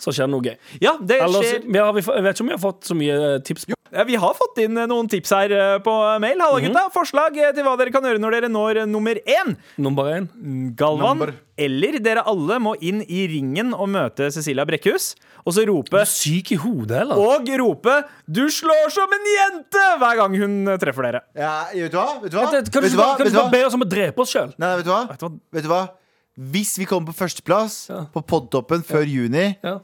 så skjer det noe gøy.
Ja, det
Ellers,
skjer.
vi har, vi, får- jeg vet ikke om vi har fått så mye eh, tips. på
Ja, vi har fått inn eh, noen tips her eh, på mail. Halla, gutta. Forslag eh, til hva dere kan gjøre når dere når eh, nummer én.
Nummer én.
Mm.
Galvan eller dere alle må inn i ringen og møte Cecilia Brekkhus, og så rope
Syk i hodet, eller?
og rope 'Du slår som en jente!' hver gang hun eh, treffer dere.
Ja, vet du hva? Vet du hva?
Kan
Vet
du ikke
du hva?
bare, kan du
Vet
ikke
du hva?
bare be oss om å drepe oss sjøl?
Nei, nei, vet du hva?
du hva?
Vet du hva? Hvis vi kommer på førsteplass
Ja.
på podtoppen før juni,
Ja.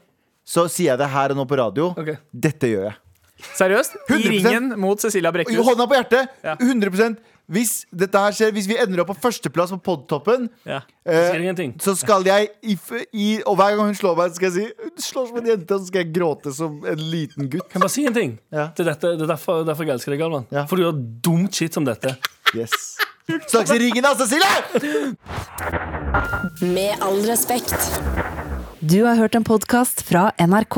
så sier jeg det her og nå på radio.
Ok.
Dette gjør jeg.
Seriøst? I
100%.
ringen mot Cecilia
Og
Brekkhus.
Hånda på hjertet!
Ja.
100 Hvis dette her skjer, hvis vi ender opp på førsteplass på podtoppen,
Ja.
eh,
Sier ingenting.
så skal jeg i, f- i Og hver gang hun slår meg, så skal jeg si Hun slår som en jente, og så skal jeg gråte som en liten gutt.
Kan jeg bare si en ting?
Ja.
Det, er dette, det er derfor, derfor jeg elsker deg, Galvan.
Ja.
For du gjør dumt shit som dette.
Yes. Snakkes i ringen, da, Cecilie!
Med all respekt.
Du har hørt en podkast fra NRK.